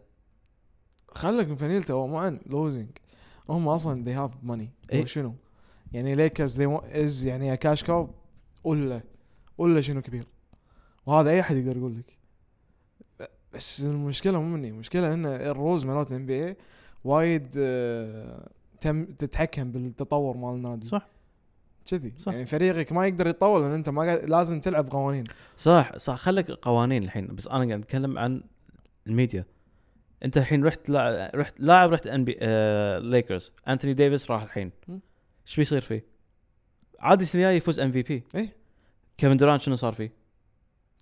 خلك من فانيلتا هو مو عن لوزنج هم اصلا they have money إيه. إيه؟ شنو يعني ليكرز they want is يعني يا كاش كاو قول له قول له شنو كبير وهذا اي احد يقدر يقول لك بس المشكله مو مني المشكله ان الروز مالت ام بي اي وايد آه، تم تتحكم بالتطور مال النادي صح. كذي صح. يعني فريقك ما يقدر يتطور لان انت ما قاعد لازم تلعب قوانين صح صح خلك قوانين الحين بس انا قاعد اتكلم عن الميديا انت الحين رحت لا... رحت لاعب رحت ان بي آه... ليكرز انتوني ديفيس راح الحين مم. ايش بيصير فيه؟ عادي السنه الجايه يفوز ام في بي إيه. كيفن دورانت شنو صار فيه؟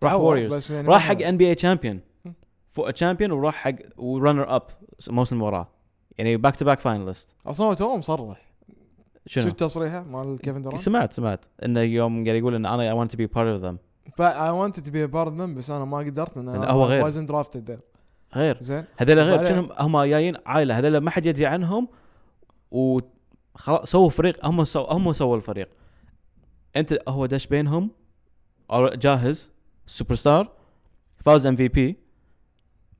راح تعور، Warriors. بس يعني راح ما- حق ان بي اي تشامبيون مم. فوق تشامبيون وراح حق ورنر اب الموسم اللي وراه يعني باك تو باك فاينلست اصلا هو تو مصرح شنو؟ شفت تصريحه مال كيفن دورانت سمعت سمعت انه يوم قاعد يقول ان انا اي ونت تو بي بارت اوف ذم اي wanted to be a part of them بس انا ما قدرت لان لأن يعني هو غير. wasn't drafted there غير زين هذول غير وبعدين- كأنهم هم جايين عائله هذول ما حد يدري عنهم و خلاص سووا فريق هم سووا هم سووا الفريق انت هو دش بينهم أر- جاهز سوبر ستار فاز ام في بي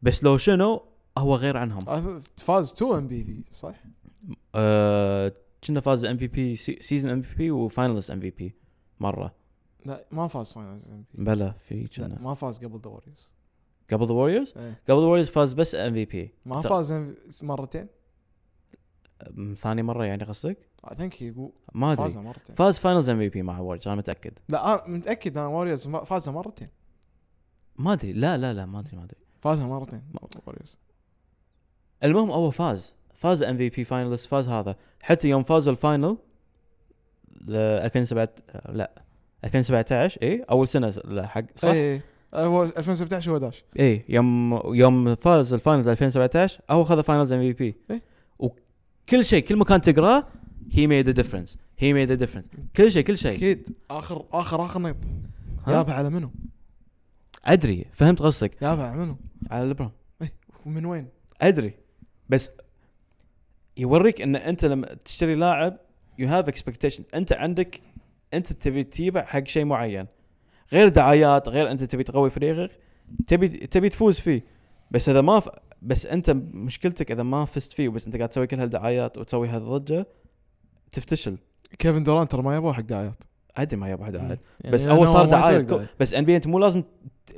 بس لو شنو هو غير عنهم أث- فاز 2 ام بي في صح؟ آه، كنا فاز ام في بي سيزون ام في بي وفاينلست ام في بي مره لا ما فاز فاينلز ام بي بلا في كنا ما فاز قبل ذا ووريرز قبل ذا ووريرز إيه. قبل ذا ووريرز فاز بس ام في بي ما طب. فاز MV- مرتين ثاني مره يعني قصدك اي ثينك هي ما ادري فازها مرتين فاز فاينلز ام في بي مع ووريرز انا متاكد لا انا متاكد ان ووريرز فازها مرتين ما ادري لا لا لا ما ادري ما ادري فازها مرتين ووريرز المهم هو فاز فاز ام في بي فاينلست فاز هذا حتى يوم فازوا الفاينل ل- 2007 لا 2017 اي اول سنه س- لا، حق صح؟ اي اي إيه، أه، هو 2017 هو داش إيه يوم يوم فاز الفاينلز 2017 هو خذ فاينلز ام في بي إيه. وكل شيء كل مكان تقراه هي ميد ا ديفرنس هي ميد ا ديفرنس كل شيء كل شيء اكيد اخر اخر اخر نقطه ها؟ يابا على منو؟ ادري فهمت قصدك يابا على منو؟ على لبرون ومن وين؟ ادري بس يوريك ان انت لما تشتري لاعب يو هاف اكسبكتيشن انت عندك انت تبي تجيبه حق شيء معين غير دعايات غير انت تبي تقوي فريقك تبي تبي تفوز فيه بس اذا ما ف... بس انت مشكلتك اذا ما فزت فيه بس انت قاعد تسوي كل هالدعايات وتسوي هالضجه تفتشل كيفن دوران ترى ما يبغى حق دعايات عادي ما يبغى دعايات يعني بس أنا هو صار ما أسوي دعايه بس ان بي انت مو لازم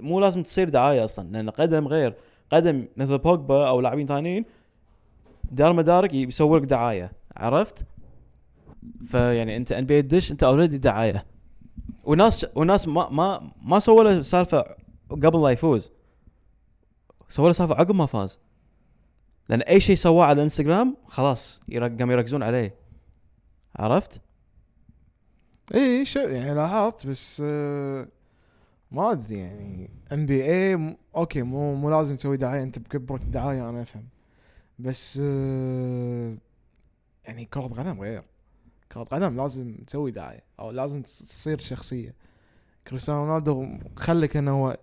مو لازم تصير دعايه اصلا لان قدم غير قدم مثل بوجبا او لاعبين ثانيين دار مدارك يسوي لك دعايه عرفت؟ يعني فيعني انت ان بي دش انت اوريدي دعايه وناس وناس ما ما ما سووا له سالفه قبل لا يفوز سووا له سالفه عقب ما فاز لان اي شيء سواه على الانستغرام خلاص يرق- قاموا يركزون عليه عرفت؟ اي شو يعني لاحظت بس آه، ما ادري يعني ام بي اي اوكي مو مو لازم تسوي دعايه انت بكبرك دعايه انا افهم بس آه، يعني كرة قدم غير كرة قدم لازم تسوي دعايه او لازم تس- تصير شخصيه كريستيانو رونالدو خلك انه هو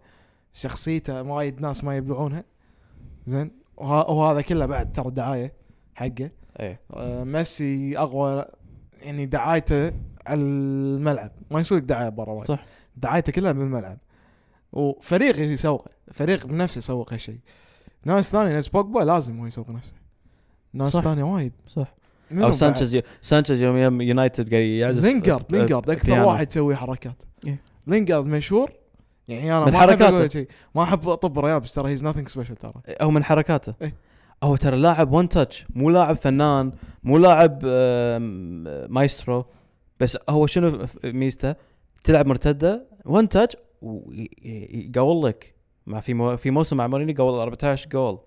شخصيته ما وايد ناس ما يبلعونها زين وه- وهذا كله بعد ترى دعايه حقه ايه آه، ميسي اقوى يعني دعايته على الملعب ما يسوق دعايه برا وايد صح. دعايته كلها بالملعب وفريق يسوق فريق بنفسه يسوق هالشيء ناس ثانيه ناس بوجبا لازم هو يسوق نفسه ناس صح. ثانيه وايد صح منهم او بعد؟ سانشيز سانشيز يوم يوم يونايتد قاعد يعزف لينجارد لينجارد اكثر بيانو. واحد يسوي حركات إيه. لينجارد مشهور يعني انا من ما احب حركاته. اقول شيء ما احب اطب الريال بس ترى هيز ناثينج سبيشل ترى او من حركاته إيه. او ترى لاعب وان تاتش مو لاعب فنان مو لاعب آم، مايسترو بس هو شنو ف- ميزته تلعب مرتده وان تاتش ويقول لك مع في مو في موسم مع مورينيو قول 14 جول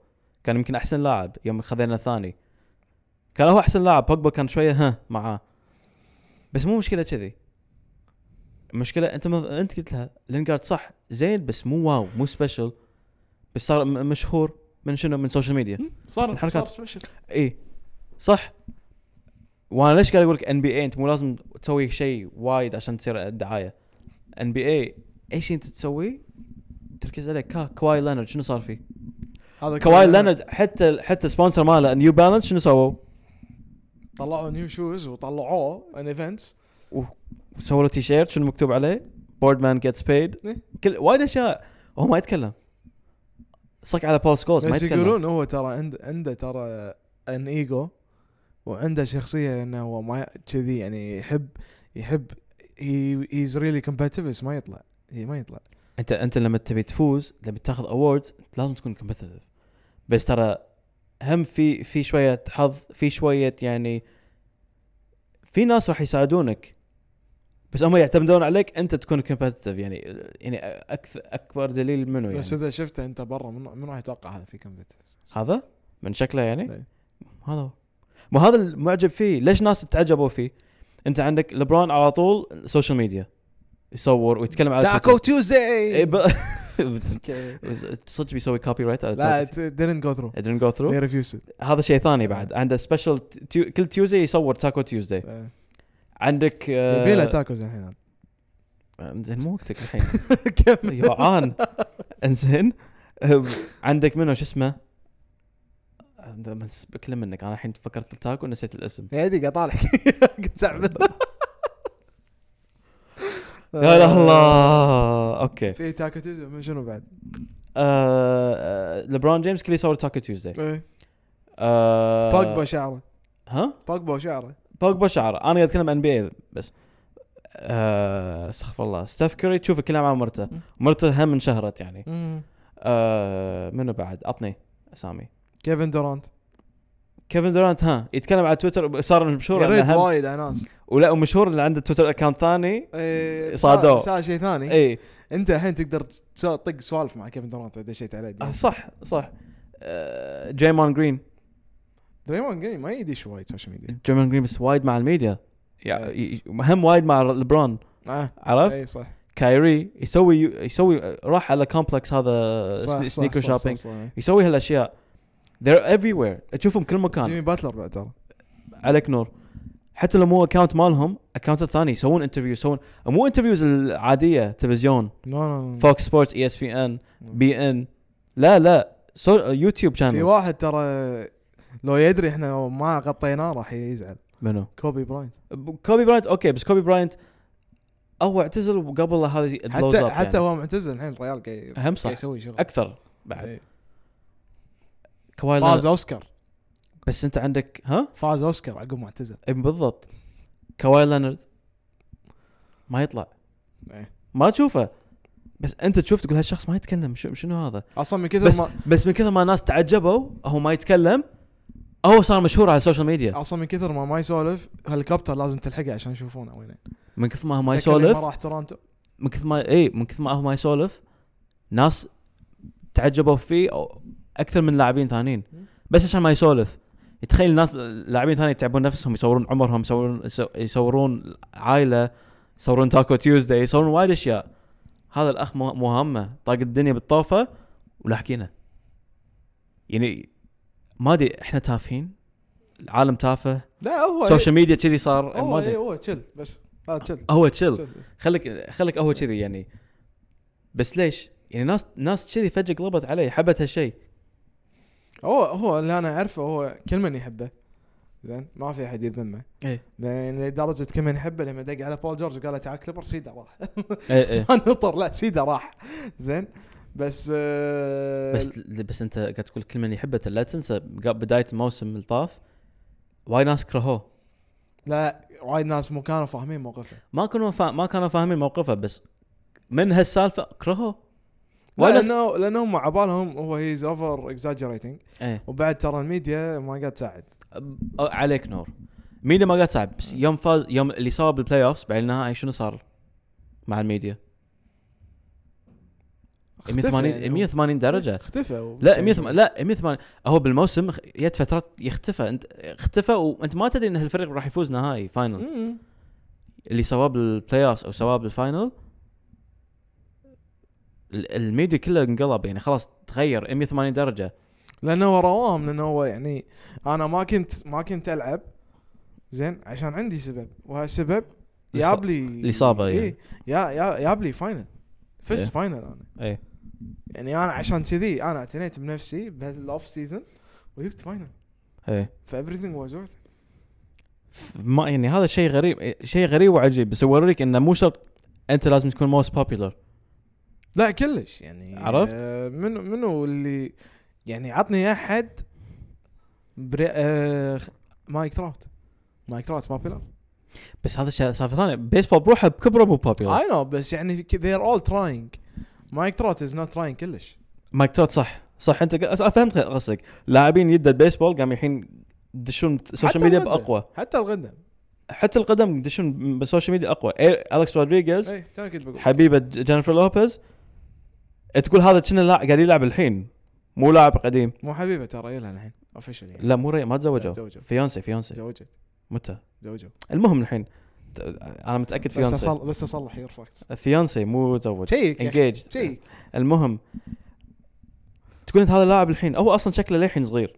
كان يمكن احسن لاعب يوم خذينا الثاني كان هو احسن لاعب بوجبا كان شويه ها معاه بس مو مشكله كذي المشكله انت مض- انت قلت لها لينجارد صح زين بس مو واو مو سبيشل بس صار م- مشهور من شنو من سوشيال ميديا صار الحركات. صار سبيشل اي إيه. صح وانا ليش قاعد اقول لك ان بي اي انت مو لازم تسوي شيء وايد عشان تصير دعايه ان بي اي اي شيء انت تسويه تركز عليه كا كواي لانرد شنو صار فيه؟ هذا كواي لانرد حتى حتى سبونسر ماله نيو بالانس شنو سووا؟ طلعوا نيو شوز وطلعوه ان ايفنتس سووا له تي شيرت شنو مكتوب عليه؟ بورد مان جيتس بايد إيه. كل وايد اشياء وهو ما يتكلم صك على بول سكولز ما بس يتكلم يقولون هو ترى عند عنده ترى ان ايجو وعنده شخصيه انه هو ما كذي يعني يحب يحب هي هيز ريلي كومباتيف بس ما يطلع هي ما يطلع انت انت لما تبي تفوز لما تاخذ اووردز انت لازم تكون كومبتتف بس ترى هم في في شويه حظ في شويه يعني في ناس راح يساعدونك بس هم يعتمدون عليك انت تكون كومبتتف يعني يعني اكثر اكبر دليل منه يعني بس اذا شفته انت برا من, من راح يتوقع هذا في كومباتيف هذا من شكله يعني إيه. هذا هو مو هذا المعجب فيه ليش ناس تعجبوا فيه انت عندك لبران على طول سوشيال ميديا يصور ويتكلم على تويتر. إيه تيوزداي ب... *laughs* صدق بيسوي كوبي رايت لا didn't جو ثرو I didn't go through they refused هذا شيء ثاني بعد عنده سبيشل تيو... كل تيوزداي يصور تاكو تيوزداي آه. عندك آه، إيه. يبي له *laughs* تاكوز الحين انزين مو وقتك الحين *laughs* جوعان انزين آه، عندك منو شو اسمه عند- بس بكلم منك انا الحين فكرت بالتاكو ونسيت الاسم يا دقيقه *laughs* طالع قلت سعب آه. لا اله الا الله اوكي في تاكو تيوزداي من شنو بعد؟ آه، آه، لبرون جيمس كل يصور تاكو تيوزداي إيه. آه، بوجبا شعره ها بوجبا شعره بوجبا شعره انا قاعد اتكلم ان بي اي بس آه، استغفر الله ستيف كوري تشوفه كل مع مرته مم. مرته هم انشهرت يعني آه، منو بعد عطني اسامي كيفن دورانت كيفن دورانت ها يتكلم على تويتر صار مشهور يا ريت انه هم وايد على ناس ولا ومشهور اللي عنده تويتر اكونت ثاني إيه. إيه، صادوه. صار شيء ثاني اي انت الحين تقدر تسو- تطق سوالف مع كيفن دورانت اذا شيت عليه آه، صح صح آه، جيمون جرين دريمون جرين ما يدش وايد سوشيال ميديا جيمون جرين بس وايد مع الميديا يا- إيه. ي- هم وايد مع لبرون اه عرفت اي صح كايري يسوي يسوي راح على كومبلكس هذا صح، صح، سنيكر صح، صح، شوبينج صح، صح. يسوي هالاشياء they're everywhere تشوفهم كل مكان جيمي باتلر بعد ترى عليك نور حتى لو مو اكونت مالهم اكونت الثاني يسوون انترفيو يسوون مو انترفيوز العاديه تلفزيون E نو نو نو. فوكس سبورتس اي اس بي ان بي ان لا لا سو يوتيوب في شانلز واحد ترى لو يدري احنا ما غطيناه راح يزعل منو كوبي براينت كوبي براينت اوكي بس كوبي براينت او اعتزل وقبل هذا blows حتى up حتى يعني. هو معتزل الحين الريال قاعد اهم قاعد صح يسوي شغل اكثر بعد إيه. كواي لينر- فاز اوسكار بس انت عندك ها فاز اوسكار عقب ما اعتزل اي بالضبط كواي لينارد ما يطلع إيه. ما تشوفه بس انت تشوف تقول هالشخص ما يتكلم شو شنو هذا اصلا من بس كثر ما بس من كثر ما الناس تعجبوا هو ما يتكلم هو صار مشهور على السوشيال ميديا اصلا من كثر ما ما يسولف هليكوبتر لازم تلحقه عشان يشوفونه وين من كثر ما هو ما لكن لما يسولف راح تورنتو من كثر ما اي من كثر ما هو ما يسولف ناس تعجبوا فيه أو اكثر من لاعبين ثانيين بس عشان ما يسولف تخيل الناس لاعبين ثانيين يتعبون نفسهم يصورون عمرهم يصورون يصورون عائله يصورون تاكو تيوزداي يصورون وايد اشياء هذا الاخ مه- مهمه طاق الدنيا بالطوفه ولاحقينه يعني ما ادري احنا تافهين العالم تافه لا هو إيه. سوشيال ميديا كذي صار هو إيه، ما ادري هو تشل بس آه، لا تشل هو تشيل تشل. خليك خليك قهوه كذي يعني بس ليش؟ يعني ناس ناس كذي فجاه قلبت علي حبت هالشيء هو هو اللي انا اعرفه هو كل من يحبه زين ما في احد يذمه ايه. لان لدرجه كل من يحبه لما دق على بول جورج وقال له تعال كليبر سيدا راح *laughs* اي *laughs* اي ما نطر لا سيدا راح زين بس آه، بس بس انت قاعد تقول كل من يحبه لا تنسى قا- بدايه الموسم الطاف وايد ناس كرهوه لا وايد ناس مو كانوا فاهمين موقفه ما كانوا فا... ما كانوا فاهمين موقفه بس من هالسالفه كرهوه لا، وايد ناس لانه لانهم على بالهم هو هيز اوفر اكزاجريتنج ايه وبعد ترى الميديا ما قاعد تساعد أب- أو- عليك نور ميديا ما قاعد تلعب بس يوم فاز يوم اللي صار بالبلاي اوفز بعد النهائي شنو صار مع الميديا؟ اختفى 180 يعني هو. 180 درجه اختفى هو. لا 180 لا 180 هو بالموسم خ- جت فترات يختفى انت اختفى وانت ما تدري ان هالفريق راح يفوز نهائي فاينل مم. اللي سواه بالبلاي اوف او سواه بالفاينل ال- الميديا كله انقلب يعني خلاص تغير 180 درجه لانه هو رواهم لانه هو يعني انا ما كنت ما كنت العب زين عشان عندي سبب وهالسبب جاب لي الإصابة يعني. إيه، يا يا جاب لي فاينل إيه. فيست فاينل انا اي يعني انا عشان كذي انا اعتنيت بنفسي بهالاوف سيزون وجبت فاينل اي إيه. فايفريثينج واز ورث ما يعني هذا شيء غريب شيء غريب وعجيب بس يوريك انه مو شرط انت لازم تكون موست بوبيلر لا كلش يعني عرفت؟ آه منو منو اللي يعني عطني احد بري آه خ- مايك تراوت مايك تراوت بابيلر بس هذا شيء سالفه ثانيه بيسبول بروحه بكبره مو بوبيلر اي نو بس يعني ذي ار اول تراينج مايك تراوت از نوت تراينج كلش مايك تروت صح صح انت ق- فهمت قصدك لاعبين يد البيسبول قام الحين يدشون حتى السوشيال ميديا الغدة. باقوى حتى الغدم حتى القدم يدشون بالسوشيال ميديا اقوى إيه، اليكس رودريغيز اي توني كنت بقول حبيبه ج- جينيفر لوبيز إيه، تقول هذا كنا لا قاعد يلعب الحين مو لاعب قديم مو حبيبه ترى يلها الحين اوفشلي يعني لا مو ري ما تزوجوا تزوجوا فيونسي فيونسي تزوجت متى تزوجوا المهم الحين ت- انا متاكد بس فيونسي اصلح بس اصلح يور فاكتس فيونسي مو تزوج شيك يا أخي، انجيج شيك المهم تقول انت هذا لاعب الحين هو اصلا شكله للحين صغير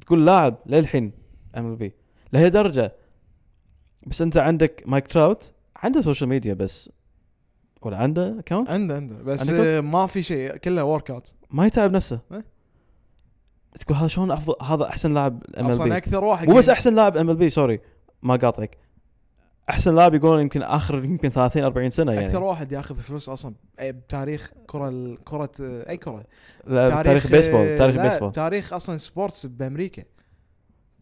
تقول لاعب للحين ام بي لهي درجه بس انت عندك مايك تراوت عنده سوشيال ميديا بس ولا عنده اكونت عنده عنده بس عندكم؟ آه، ما في شيء كله ورك اوت ما يتعب نفسه إيه. تقول هذا شلون افضل هذا احسن لاعب ام اصلا ال بي اكثر واحد مو بس قاعد- احسن لاعب ام ال بي سوري ما قاطعك احسن لاعب يقولون يمكن اخر يمكن 30 40 سنه يعني اكثر واحد ياخذ فلوس اصلا أي- بتاريخ كره ال- كره آه، اي كره لا، تاريخ البيسبول تاريخ لا، البيسبول تاريخ اصلا سبورتس بامريكا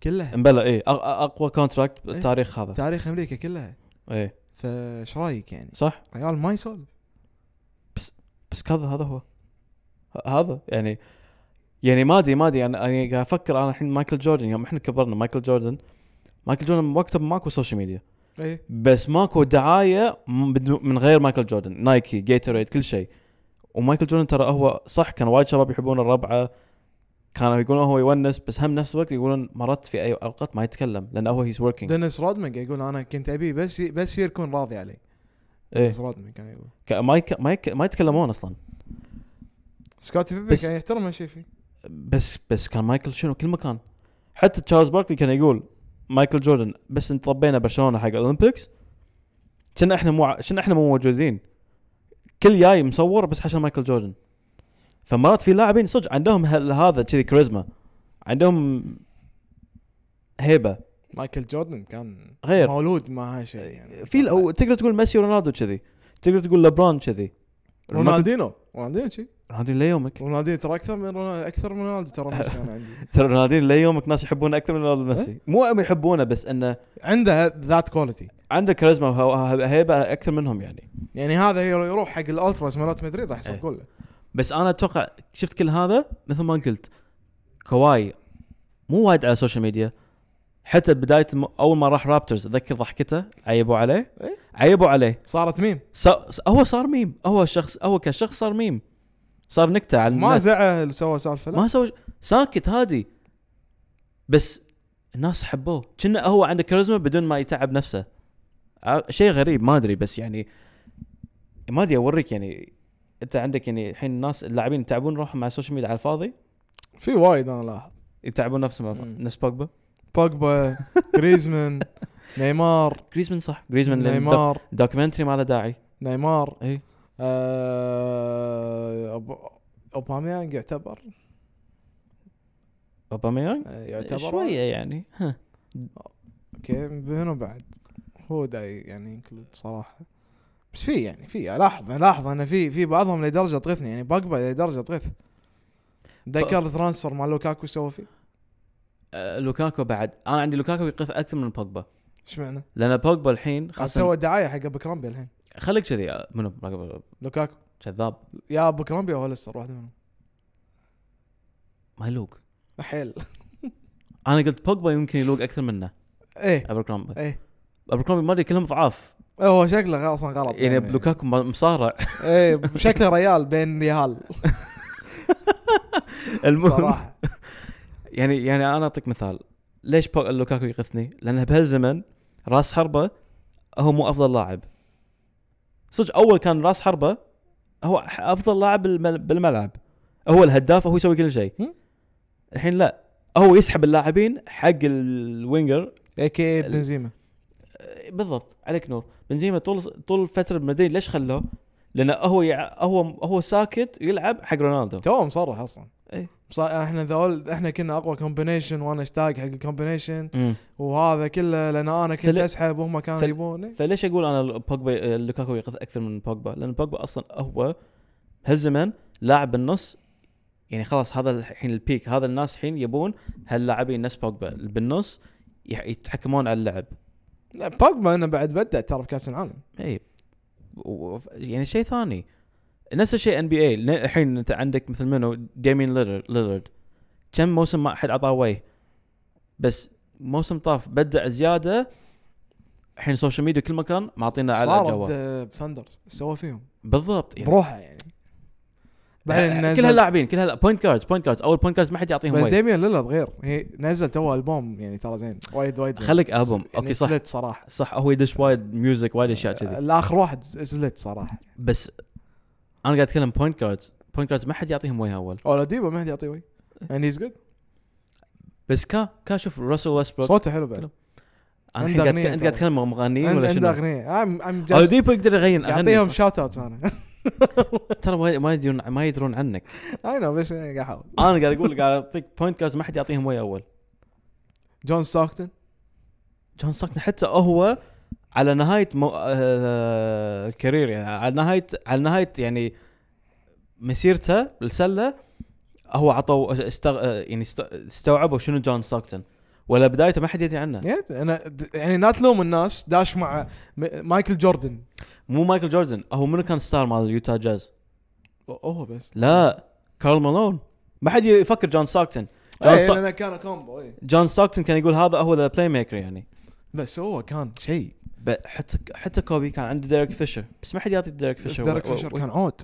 كلها امبلا اي اقوى كونتراكت إيه. بالتاريخ هذا إيه. تاريخ امريكا كلها اي فايش رايك يعني صح ريال ما يسولف بس هذا هذا هو ه- هذا يعني يعني ما ادري ما ادري انا انا قاعد افكر انا الحين مايكل جوردن يوم احنا كبرنا مايكل جوردن مايكل جوردن وقتها ماكو سوشيال ميديا اي بس ماكو دعايه م- بدون- من غير مايكل جوردن نايكي جيتوريد كل شيء ومايكل جوردن ترى هو صح كان وايد شباب يحبون الربعه كانوا يقولون هو يونس بس هم نفس الوقت يقولون مرات في اي اوقات ما يتكلم لان هو هيز وركينج دينيس رودمان قاعد يقول انا كنت ابي بس بس يكون راضي علي ايه دينيس رودمان كان يقول ك- ما يك... ما, يك... ما يتكلمون اصلا سكوتي بيبي بس- كان يحترم هالشيء فيه بس بس كان مايكل شنو كل مكان حتى تشارلز باركلي كان يقول مايكل جوردن بس انت طبينا برشلونه حق الاولمبيكس كنا احنا مو ع- كنا احنا مو موجودين كل جاي مصور بس عشان مايكل جوردن فمرات في لاعبين صدق عندهم هال- هذا كذي كاريزما عندهم هيبه مايكل جوردن كان غير مولود مع هالشيء يعني إيه، في الأو... تقدر تقول ميسي ورونالدو كذي تقدر تقول لبران كذي رونالدو رونالدينو رونالدينو شي رونالدينو ليومك رونالدينو ترى اكثر من رونا- اكثر من رونالدو ترى *laughs* ميسي انا عندي ترى رونالدينو ليومك ناس يحبونه اكثر من رونالدو ميسي مو يحبونه بس انه عنده ذات كواليتي عنده كاريزما وهيبه اكثر منهم يعني يعني هذا يروح حق الالتراس مالت مدريد راح يصير إيه. كله بس انا اتوقع شفت كل هذا مثل ما قلت كواي مو وايد على السوشيال ميديا حتى بدايه الم- اول ما راح رابترز اتذكر ضحكته عيبوا عليه إيه. عيبوا عليه صارت ميم ص... ص- هو صار ميم هو شخص هو كشخص صار ميم صار نكته على ما الناس زعل سوى سالفه لا ما سوى ش- ساكت هادي بس الناس حبوه كنا هو عنده كاريزما بدون ما يتعب نفسه ع- شيء غريب ما ادري بس يعني ما ادري اوريك يعني انت عندك يعني الحين الناس اللاعبين يتعبون روحهم مع السوشيال ميديا على الفاضي في وايد انا لاحظ يتعبون نفسهم على الف- مم. إيه. نفس *laughs* بوجبا بوجبا جريزمان نيمار جريزمان صح جريزمان نيمار إيه. دوكيومنتري ما له داعي نيمار اي آه، أوب- اوباميانج يعتبر اوباميانج آه، يعتبر شويه *laughs* يعني ها اوكي منو بعد هو دا يعني انكلود صراحه بس في يعني في الاحظ الاحظ انا في في بعضهم لدرجه تغثني يعني باجبا لدرجه تغث تذكر الترانسفر مع لوكاكو سوى فيه آه، لوكاكو بعد انا عندي لوكاكو يقف اكثر من بوجبا ايش معنى؟ لان بوجبا الحين قاعد خاصه سوى دعايه حق ابو كرامبي الحين خليك كذي آه، منو لوكاكو كذاب يا ابو كرامبي او هولستر واحده منهم ما يلوق حيل انا قلت بوجبا يمكن يلوق اكثر منه ايه ابركرومبي ايه ابركرومبي ما ادري كلهم ضعاف إيه، هو شكله اصلا غلط يعني لوكاكو م- مصارع ايه شكله ريال بين ريال المهم صراحه يعني يعني انا اعطيك مثال ليش بو- لوكاكو يغثني؟ لانه بهالزمن راس حربه هو مو افضل لاعب صدق اول كان راس حربه هو ح- افضل لاعب بالمل- بالملعب هو الهداف هو يسوي كل شيء هم؟ الحين لا هو يسحب اللاعبين حق الوينجر اي إيه، *laughs* كي ال- بنزيما بالضبط عليك نور بنزيما طول طول الفتره بمدريد ليش خلوه؟ لانه هو يع... هو هو ساكت يلعب حق رونالدو توه مصرح اصلا إيه. بص- احنا ذول احنا كنا اقوى كومبينيشن وانا اشتاق حق الكومبينيشن وهذا كله لان انا كنت فل- اسحب وهم كانوا فل- يبون إيه. فليش اقول انا بوجبا لوكاكو يقض اكثر من بوجبا؟ لان بوجبا اصلا هو هالزمان لاعب بالنص يعني خلاص هذا الحين البيك هذا الناس الحين يبون هاللاعبين نفس بوجبا اللي بالنص يح- يتحكمون على اللعب لا بوجبا انه بعد بدا ترى بكاس العالم اي إيه. و- وف- يعني شيء ثاني نفس الشيء ان بي اي الحين انت عندك مثل منو ديمين ليلرد كم موسم ما احد عطاه وي بس موسم طاف بدع زياده الحين السوشيال ميديا كل مكان معطينا على صارت الجوال آه، بثندرز سوى فيهم بالضبط يعني بروحه يعني بعدين آه، كل نزل هاللاعبين كل هالبوينت كاردز بوينت كاردز اول بوينت كاردز ما حد يعطيهم بس وي ديميان ليلارد غير هي نزل تو البوم يعني ترى زين وايد وايد زين. خليك البوم يعني آه، اوكي صح سلت صراحه صح هو يدش وايد ميوزك وايد اشياء كذي الاخر واحد سلت صراحه بس انا قاعد اتكلم بوينت كاردز بوينت كاردز ما حد يعطيهم وي اول اولاديبا ما حد *laughs* يعطيه وي يعني هيز جود بس كا كا شوف راسل ويستبروك صوته حلو بعد حلو. انا عنده الحين قاعد أغنية انت قاعد تتكلم عن مغنيين عنده ولا عنده شنو؟ اغنيه I'm- I'm just- اوديبو يقدر يغير يعطيهم اغاني صح؟ شوت اوت *laughs* انا ترى وايد- ما يدرون ما يدرون عنك اي نو بس يعني قاعد احاول انا قاعد *laughs* اقول قاعد اعطيك بوينت كاردز ما حد يعطيهم وي اول جون ستوكتون جون ساكن حتى هو على نهايه مو... آه... الكارير يعني على نهايه على نهايه يعني مسيرته بالسله هو عطوا استغ... آه، يعني است... استوعبوا شنو جون ستوكتون ولا بدايته ما حد يدري عنه Yeah, انا د- يعني لا تلوم الناس داش مع م- مايكل جوردن مو مايكل جوردن هو منو كان ستار مال اليوتا جاز هو بس لا كارل مالون ما حد يفكر جون ستوكتون جون, اي ستو... لانه إيه، كان إيه. كومبو اي جون ستوكتون كان يقول هذا هو ذا بلاي ميكر يعني بس هو كان شيء ب- حتى حتى كوبي كان عنده ديريك فيشر بس ما حد يعطي ديريك بس فيشر ديريك و- و- فيشر و- كان عود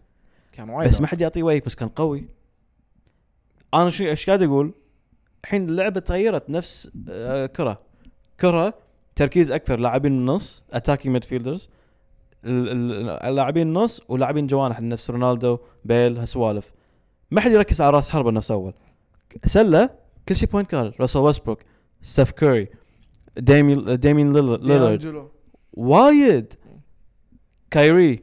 كان وايد بس ما عود. حد يعطيه ويك بس كان قوي انا شو ايش قاعد اقول؟ الحين اللعبه تغيرت نفس آه، كره كره تركيز اكثر لاعبين النص اتاكينج ميد فيلدرز اللاعبين النص ولاعبين جوانح نفس رونالدو بيل هالسوالف ما حد يركز على راس حربه نفس اول سله كل شيء بوينت كارد راسل ويسبروك ستيف كوري ديمي ديمين ليلر- ليلرد ديانجلو. وايد كايري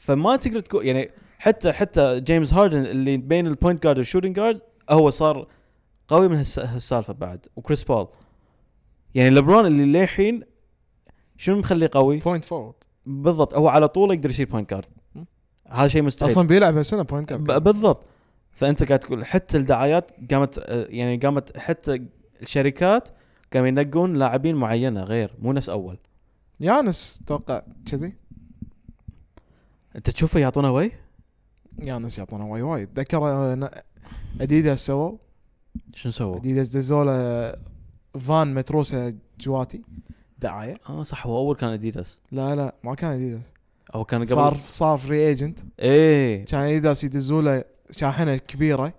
فما تقدر تقول يعني حتى حتى جيمس هاردن اللي بين البوينت جارد والشوتنج جارد هو صار قوي من هالس- هالسالفه بعد وكريس بول يعني لبرون اللي للحين شنو مخليه قوي؟ بوينت فورد بالضبط هو على طول يقدر يصير بوينت جارد هذا شيء مستحيل اصلا بيلعب هالسنه بوينت كارد ب- بالضبط فانت قاعد تقول حتى الدعايات قامت آه، يعني قامت حتى الشركات قاموا ينقون لاعبين معينه غير مو نفس اول يانس توقع كذي انت تشوفه يعطونه وي؟ يانس يعطونا واي وايد ذكر آه، ن- اديداس سووا شنو سووا؟ اديداس دزوله فان متروسه جواتي دعايه اه صح هو اول كان اديداس لا لا ما كان اديداس او كان قبل صار صار فري ايجنت ايه كان اديداس يدزوله شاحنه كبيره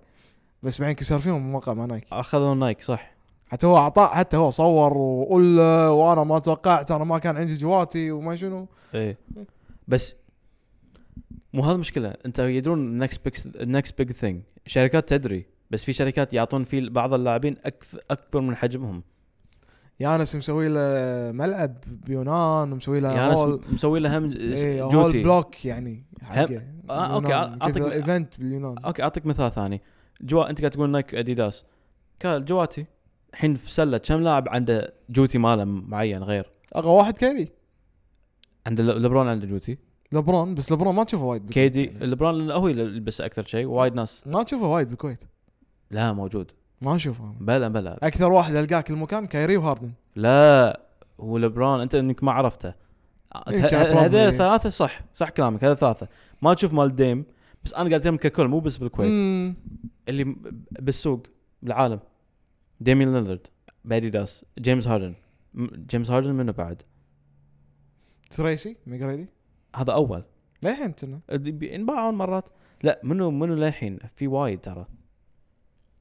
بس بعدين كسر فيهم موقع مع نايك اخذوا نايك صح حتى هو اعطاه حتى هو صور وقول له وانا ما توقعت انا ما كان عندي جواتي وما شنو ايه بس مو هذا المشكله انت يدرون next big next big thing شركات تدري بس في شركات يعطون في بعض اللاعبين اكثر اكبر من حجمهم يانس مسوي له ملعب بيونان ومسوي له يعني هول أنا مسوي له هم ايه هول إيه، جوتي بلوك يعني حقه آه، أوكي، باليونان. أعطيك- كذا ايفنت باليونان اوكي اعطيك مثال ثاني جوا انت قاعد تقول نايك اديداس قال جواتي الحين في سله كم لاعب عنده جوتي ماله معين غير اغا واحد كيري عنده لبرون عنده جوتي لبرون بس لبرون ما تشوفه وايد بالكويت كيدي يعني. لبرون لأنه هو يلبس اكثر شيء وايد ناس ما تشوفه وايد بالكويت لا موجود ما اشوفه بلا بلا اكثر واحد القاك المكان كايري وهاردن لا هو لبرون انت انك ما عرفته إيه، ه- كان ه- هذول probably. ثلاثه صح صح كلامك هذا ثلاثه ما تشوف مال ديم بس انا قاعد اتكلم ككل مو بس بالكويت مم. اللي م- بالسوق بالعالم ديمين لينرد باديداس جيمس هاردن م- جيمس هاردن منه بعد تريسي ميغريدي هذا اول للحين كنا اللي بي- ينباعون مرات لا منو منو للحين في وايد ترى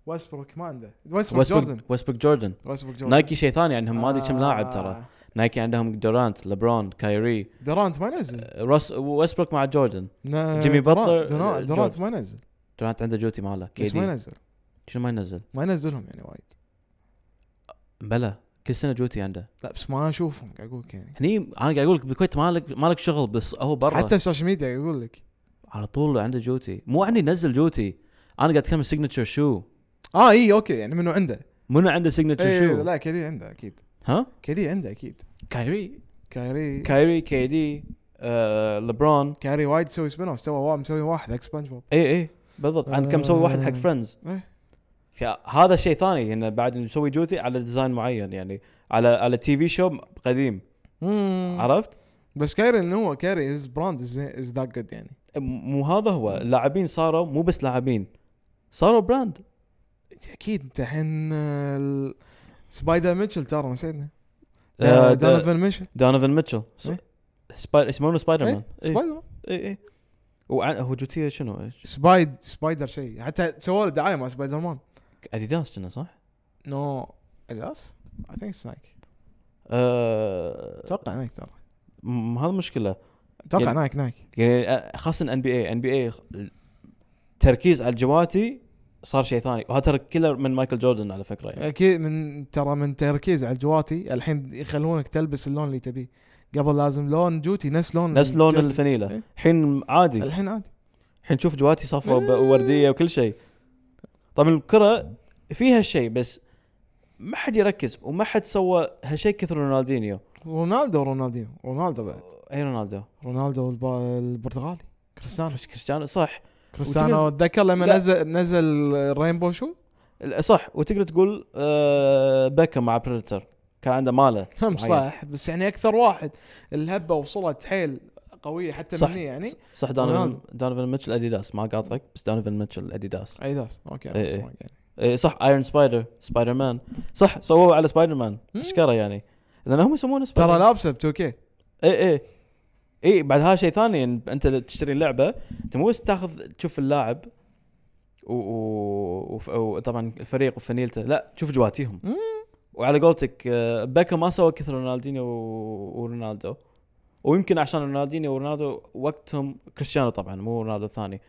ويسبروك ما عنده ويسبروك جوردن ويسبروك ويسبروك جوردن ويسبروك جوردن نايكي شيء ثاني عندهم ما ادري كم لاعب ترى آه. نايكي عندهم دورانت لبرون كايري دورانت ما ينزل آه، روس ويسبروك مع جوردن نا- جيمي دورانت- باتلر، جورج. دورانت- دورانت ما ينزل دورانت عنده جوتي ماله كي بس ما دي ينزل شنو ما ينزل ما ينزلهم يعني وايد بلا كل سنه جوتي عنده لا بس ما اشوفهم قاعد اقول لك يعني هني انا قاعد اقول لك بالكويت مالك مالك شغل بس هو برا حتى حتى السوشيال ميديا يقول لك على طول عنده جوتي مو عني نزل جوتي انا قاعد اتكلم سيجنتشر شو اه اي اوكي يعني منو عنده منو عنده سيجنتشر إيه، شو لا كيدي عنده اكيد ها كيدي عنده اكيد كايري كايري كايري كي دي آه لبرون كايري وايد مسوي سبين اوف سوى وا- مسوي واحد حق سبونج بوب اي اي إيه، بالضبط عن كم مسوي واحد حق فريندز إيه. فهذا شيء ثاني انه بعد مسوي جوتي على ديزاين معين يعني على على تي في شو قديم مم. عرفت بس كايري انه هو كايري از براند از ذات جود يعني مو هذا هو اللاعبين صاروا مو بس لاعبين صاروا براند اكيد انت الحين آه، ال- سبايدر ميتشل ترى نسينا آه، دا- دونيفن ميتشل دونيفان ميتشل س- إيه. سبايدر يسمونه سبايدر مان إيه، اي سبايدر اي إيه. وعن هو جوتيه شنو إيش؟ سبايد سبايدر شيء حتى سووا له دعايه مع سبايدر مان اديداس كنا صح؟ نو الاس اي ثينك اتس نايك أه اتوقع نايك ترى م- هذا مشكله اتوقع يعني- نايك نايك يعني آه، خاصه ان بي اي ان بي اي التركيز على الجواتي صار شيء ثاني وهذا ترى كيلر من مايكل جوردن على فكره يعني اكيد من ترى من تركيز على الجواتي الحين يخلونك تلبس اللون اللي تبيه قبل لازم لون جوتي نفس لون نفس لون الجيرسي. الفنيله إيه. الحين عادي الحين عادي الحين تشوف جواتي صفراء وب- وورديه وكل شيء طبعا الكره فيها شيء بس ما حد يركز وما حد سوى هالشيء كثر رونالدينيو رونالدو رونالدينو رونالدو بعد اي رونالدو رونالدو الب- البرتغالي كريستيانو بس كريستيانو صح كريستيانو اتذكر لما لا. نزل نزل رينبو شو؟ *laughs* ال- صح وتقدر تقول آه بيكم مع بريدتر كان عنده ماله هم معين. صح بس يعني اكثر واحد الهبه وصلت حيل قويه حتى صح. مني يعني ص- صح دونيفن رونالدو. دونيفن ميتشل اديداس ما قاطعك بس دونيفن ميتشل اديداس ايداس اوكي إيه، إيه. أنا sorry يعني. إيه صح ايرون سبايدر سبايدر مان صح سووه على سبايدر مان مم. اشكره يعني لان هم يسمونه سبايدر ترى لابسه ب 2 كي اي اي اي إيه، بعد هذا شيء ثاني إن انت تشتري لعبه انت مو بس تاخذ تشوف اللاعب و- و- وف- وطبعا الفريق وفنيلته لا تشوف جواتيهم مم. وعلى قولتك آه، بيكا ما سوى كثر رونالدينيو و- ورونالدو ويمكن عشان رونالدينيو ورونالدو وقتهم كريستيانو طبعا مو رونالدو الثاني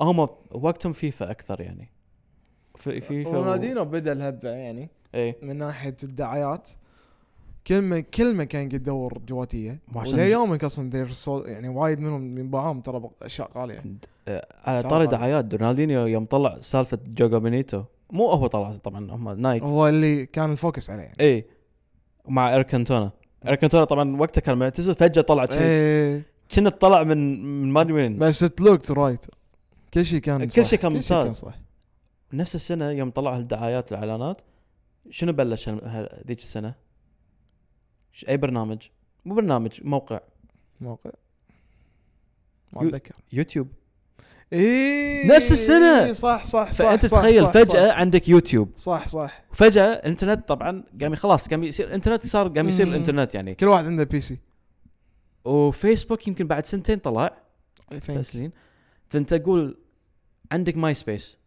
هم وقتهم فيفا اكثر يعني في فيفا و- إيه. رونالدينو بدا الهبه يعني اي من ناحيه الدعايات كل ما كل ما كان يدور جواتيه مو عشان- وليومك اصلا دير سو- يعني وايد منهم ينباعون ترى بق- اشياء غاليه آه، على صعب طاري عليك. دعايات رونالدينيو يوم طلع سالفه جوجا بينيتو مو هو طلع طبعا هم نايك هو اللي كان الفوكس عليه يعني اي إيه. مع اركنتونا اركنتونا طبعا وقتها كان معتزل فجاه طلع كنا إيه كنا طلع من من ما ادري وين بس ات لوكت رايت كل شيء كان كل صح. شيء كان ممتاز. كان صح نفس السنه يوم طلع هالدعايات الاعلانات شنو بلش هال- هال- ذيك السنه؟ ش- اي برنامج؟ مو برنامج موقع موقع يو- ما اتذكر يوتيوب ايه نفس السنة. إيه صح صح صح فانت صح تخيل صح فجاه عندك يوتيوب صح صح فجاه الانترنت طبعا قام خلاص قام يصير الانترنت صار قام يصير مم. الانترنت يعني كل واحد عنده بي سي وفيسبوك يمكن بعد سنتين طلع I think. ثلاث سنين فانت تقول عندك ماي سبيس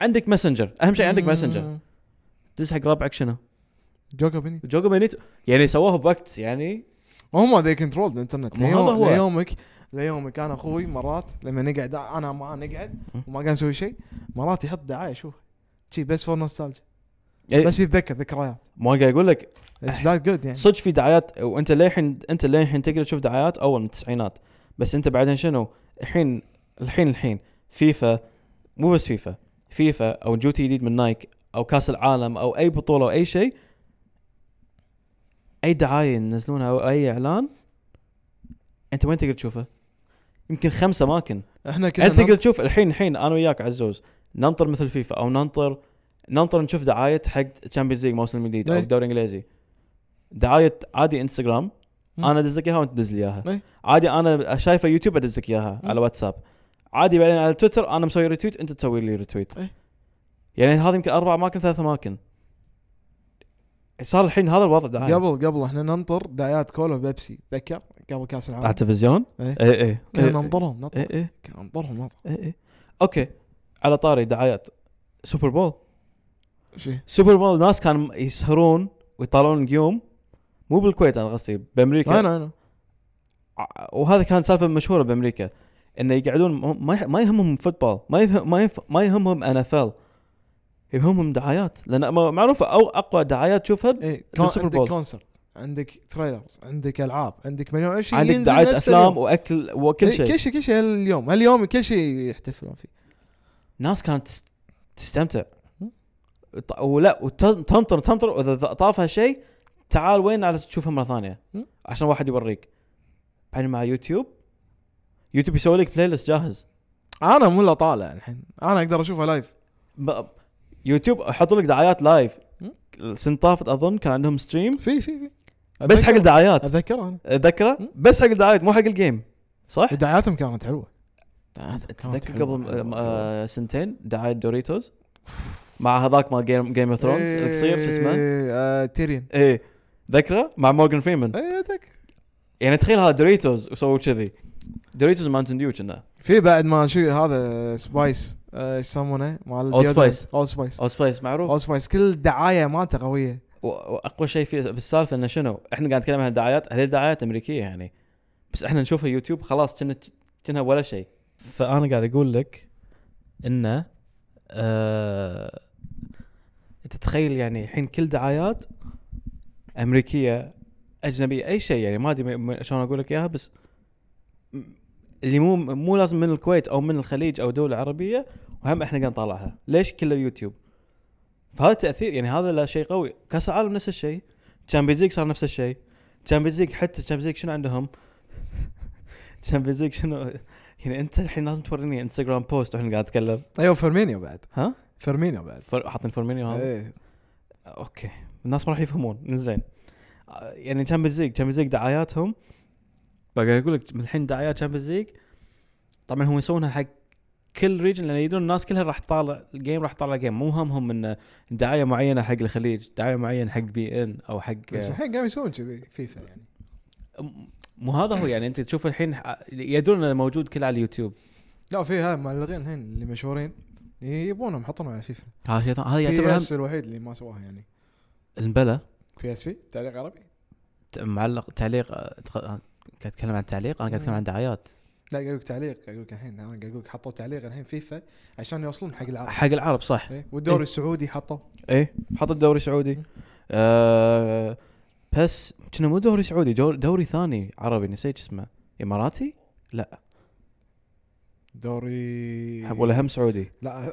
عندك ماسنجر اهم شيء عندك ماسنجر مم. تدز حق ربعك شنو؟ جوكا بني جوجو بينيتو يعني سووها بوقت يعني هم ذي كنترول الانترنت مو هذا ليوم- هو. ليومك ليومك انا اخوي مرات لما نقعد انا معاه نقعد وما قاعد نسوي شيء مرات يحط دعايه شوف شي بس فور نوستالجيا إيه. بس يتذكر ذكريات ما قاعد اقول لك اتس ذات جود يعني صدق في دعايات وانت للحين انت للحين تقدر تشوف دعايات اول من التسعينات بس انت بعدين شنو؟ الحين الحين الحين فيفا مو بس فيفا فيفا او جوتي جديد من نايك او كاس العالم او اي بطوله او اي شيء اي دعايه ينزلونها او اي اعلان انت وين تقدر تشوفه؟ يمكن خمس اماكن احنا كنا انت تقدر نط- تشوف الحين الحين انا وياك عزوز ننطر مثل فيفا او ننطر ننطر نشوف دعايه حق تشامبيونز ليج موسم جديد او إيه. الدوري الانجليزي دعايه عادي انستغرام مم. انا ادز لك اياها وانت تدز لي اياها إيه. عادي انا شايفه يوتيوب ادز لك اياها مم. على واتساب عادي بعدين على تويتر انا مسوي ريتويت انت تسوي لي ريتويت إيه. يعني هذا يمكن اربع اماكن ثلاث اماكن صار الحين هذا الوضع دعايه قبل قبل احنا ننطر دعايات كولا وبيبسي تذكر قبل كاس على العالم التلفزيون إيه. اي اي كنا ننطرهم ننطر اي اي كنا ننطرهم ننطر اي اي اوكي على طاري دعايات سوبر بول شي سوبر بول الناس كانوا يسهرون ويطالعون القيوم مو بالكويت انا قصدي بامريكا انا انا ع- وهذا كان سالفه مشهوره بامريكا انه يقعدون م- ما يح- ما يهمهم فوتبول ما يفهم ما, يف... ما يهمهم ان اف ال يهمهم دعايات لان ما- معروفه او اقوى دعايات تشوفها ايه كان للسوبر عندك بول. كونسرت عندك تريلرز عندك العاب عندك مليون شيء عندك ينزل دعايه نفس اليوم. افلام واكل وكل إيه، شيء كل شيء كل شيء اليوم اليوم كل شيء يحتفلون فيه ناس كانت تس- تستمتع مم. ط- ولا وتنطر تنطر واذا ذ- طافها شيء تعال وين على تشوفها مره ثانيه مم. عشان واحد يوريك بعدين مع يوتيوب يوتيوب يسوي لك بلاي ليست جاهز انا مو لا طالع الحين انا اقدر اشوفها لايف ب- يوتيوب حطوا لك دعايات لايف مم. السنه طافت اظن كان عندهم ستريم في في في بس حق أتذكر- الدعايات اتذكر انا ذكرى مم. بس حق الدعايات مو حق الجيم صح؟ دعاياتهم كانت حلوه دعاياتهم كانت تذكر حلوة، قبل حلوة، حلوة. آه، سنتين دعايه دوريتوز مع هذاك مال جيم جيم اوف ثرونز اللي تصير شو اسمه؟ إيه، آه، إيه، تيرين ايه ذكره مع مورجان فريمان اي اتذكر يعني تخيل هذا دوريتوز وسووا كذي دوريتوز مانتن ديو كنا في بعد ما شو هذا سبايس آه، ايش يسمونه مال Old Spice. اول سبايس او سبايس معروف اول سبايس كل دعايه مالته قويه و- واقوى شيء في بالسالفه انه شنو احنا قاعد نتكلم عن الدعايات هذه الدعايات امريكيه يعني بس احنا نشوفها يوتيوب خلاص كنا كنا ولا شيء فانا قاعد اقول لك انه آه انت تخيل يعني الحين كل دعايات امريكيه اجنبيه اي شيء يعني ما ادري م- م- شلون اقول لك اياها بس م- اللي مو مو لازم من الكويت او من الخليج او دوله عربيه وهم احنا قاعد نطالعها ليش كله يوتيوب فهذا تاثير يعني هذا لا شيء قوي كاس العالم نفس الشيء تشامبيونز ليج صار نفس الشيء تشامبيونز ليج حتى تشامبيونز ليج شنو عندهم *laughs* تشامبيونز ليج شنو يعني انت الحين لازم توريني انستغرام بوست واحنا قاعد نتكلم ايوه فيرمينيو بعد ها؟ نعم. فيرمينيو بعد فر- حاطين فورمينيو هذا إيه. اوكي الناس ما راح يفهمون زين آه، يعني تشامبيونز ليج تشامبيونز ليج دعاياتهم بقى اقول لك الحين دعايات تشامبيونز ليج طبعا هم يسوونها حق كل ريجن لان يدرون الناس كلها راح تطالع الجيم راح تطالع جيم مو همهم ان دعايه معينه حق الخليج دعايه معينه حق بي ان او حق بس الحين قام يسوون كذي فيفا يعني م- مو هذا هو يعني انت تشوف الحين ح- يدرون انه موجود كله على اليوتيوب لا في هاي معلقين الحين اللي مشهورين يبونهم يحطونهم على فيفا هذا شيء ثاني- هذا بي طيب، يعتبر هم- اس الوحيد اللي ما سواها يعني البلا بي اس في تعليق عربي ت- معلق تعليق آه، تخ- آه، قاعد اتكلم عن تعليق انا قاعد اتكلم عن دعايات لا قاعد اقول لك تعليق قاعد اقول لك الحين انا قاعد اقول لك حطوا تعليق الحين فيفا عشان يوصلون حق *laughs* العرب حق العرب صح إيه، والدوري إيه. السعودي حطوا ايه حط الدوري السعودي مم. آه بس كنا مو دوري سعودي جو- دوري ثاني عربي نسيت شو اسمه اماراتي دوري إيه. ولا هم سعودي لا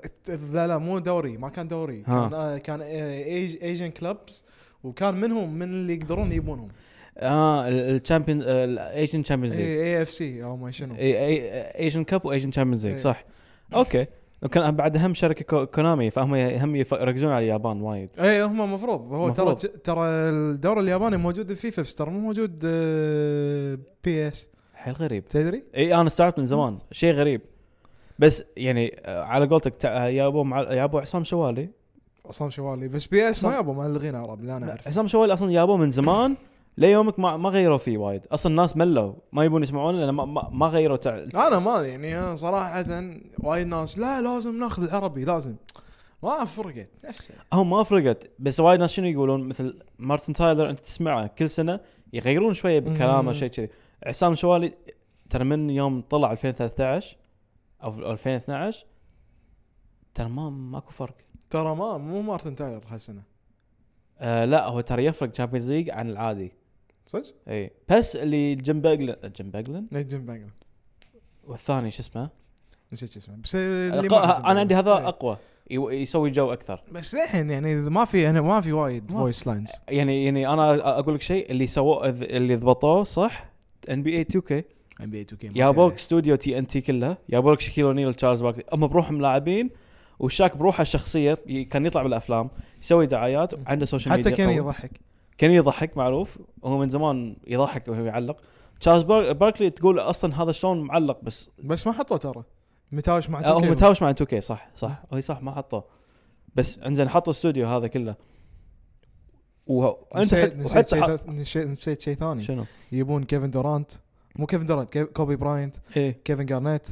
لا لا مو دوري ما كان دوري ها. كان آه، كان ايجن كلبز وكان منهم من اللي يقدرون يبونهم اه الشامبيون الايجن تشامبيونز ليج اي اف سي او ما إيه. شنو ايجن كاب وايجن تشامبيونز إيه. ليج صح اوكي كان بعد هم شركه كو- كونامي فهم هم يف- يركزون على اليابان وايد اي إيه، هم المفروض هو ترى مفروض. ترى الدوري الياباني موجود في فيفا بس ترى مو موجود آه، بي اس حيل غريب تدري؟ اي انا استوعبت إيه، من زمان شيء غريب بس يعني آه، على قولتك تع- يا ابو مع... يا ابو عصام شوالي عصام شوالي بس بي اس عصام- ما يبوا معلقين عرب لا انا اعرف عصام شوالي اصلا يابوه من زمان *clears throat* ليومك ما ما غيروا فيه وايد اصلا الناس ملوا ما يبون يسمعون لان ما, ما, ما غيروا تع... انا ما يعني أنا صراحه وايد ناس لا لازم ناخذ العربي لازم ما فرقت نفسه هم ما فرقت بس وايد ناس شنو يقولون مثل مارتن تايلر انت تسمعه كل سنه يغيرون شويه بكلامه مم. شيء كذي عصام شوالي ترى من يوم طلع 2013 او أو 2012 ترى ما ماكو فرق ترى ما مو مارتن تايلر هالسنه آه لا هو ترى يفرق تشامبيونز ليج عن العادي صدق؟ اي بس اللي جيم باجلن جيم باجلن جيم بانجلن والثاني شو اسمه نسيت اسمه بس اللي أق- ما عجبني. انا عندي هذا إيه. اقوى يو- يسوي جو اكثر بس الحين يعني ما في انا ما في وايد ما فويس لاينز يعني يعني انا اقول لك شيء اللي سووه اللي ضبطوه صح ان بي اي 2 كي ام بي 2 كي جابوك استوديو تي ان تي كله جابوك شكيل اونيل تشارلز باركلي هم بروحهم لاعبين وشاك بروحه الشخصيه ي- كان يطلع بالافلام يسوي دعايات عنده سوشيال ميديا حتى كان قوي. يضحك كان يضحك معروف هو من زمان يضحك وهو يعلق تشارلز بار- باركلي تقول اصلا هذا شلون معلق بس بس ما حطوا ترى متهاوش مع 2K. أه، هو متهاوش مع 2 كي صح صح هو صح ما حطوه بس انزين حطوا استوديو هذا كله وانت نسيت نسيت حتى شيء حط ثا- نسيت- نسيت شيء ثاني شنو؟ يبون كيفن دورانت مو كيفن دورانت كيف- كوبي براينت ايه كيفن جارنيت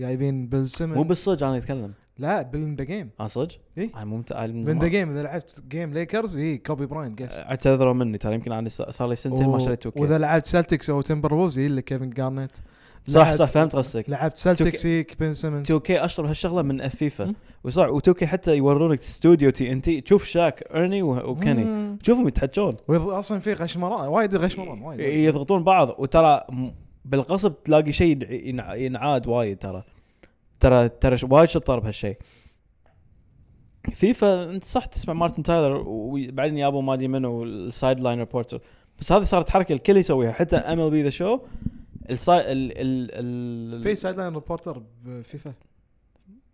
جايبين بيل سيمنز مو بالصج انا اتكلم لا بين ذا جيم انا صج؟ إيه. انا ممتع من بين زمان. ذا جيم اذا لعبت جيم ليكرز اي كوبي براينت جيست اعتذروا مني ترى يمكن انا ص- صار لي سنتين ما شريت 2K. واذا لعبت سلتكس او تمبر وولز اي الا كيفن جارنيت صح لعبت- صح فهمت قصدك لعبت سلتكس اي بين سيمنز 2K اشطر بهالشغله من فيفا مم. وصح و2K حتى يورونك استوديو تي ان تي تشوف شاك ارني و- وكيني مم. تشوفهم يتحجون ويض- اصلا في غشمران وايد غشمران وايد ي- إيه، يضغطون بعض وترى م- بالغصب تلاقي شيء ينع- ينع- ينعاد وايد ترى ترى ترى ش- وايد شطار بهالشيء فيفا انت صح تسمع مارتن تايلر وبعدين يابو ما ادري منو السايد لاين ريبورتر بس هذه صارت حركه الكل يسويها حتى ام ال بي ذا شو السايد ال ال في ال سايد لاين ريبورتر بفيفا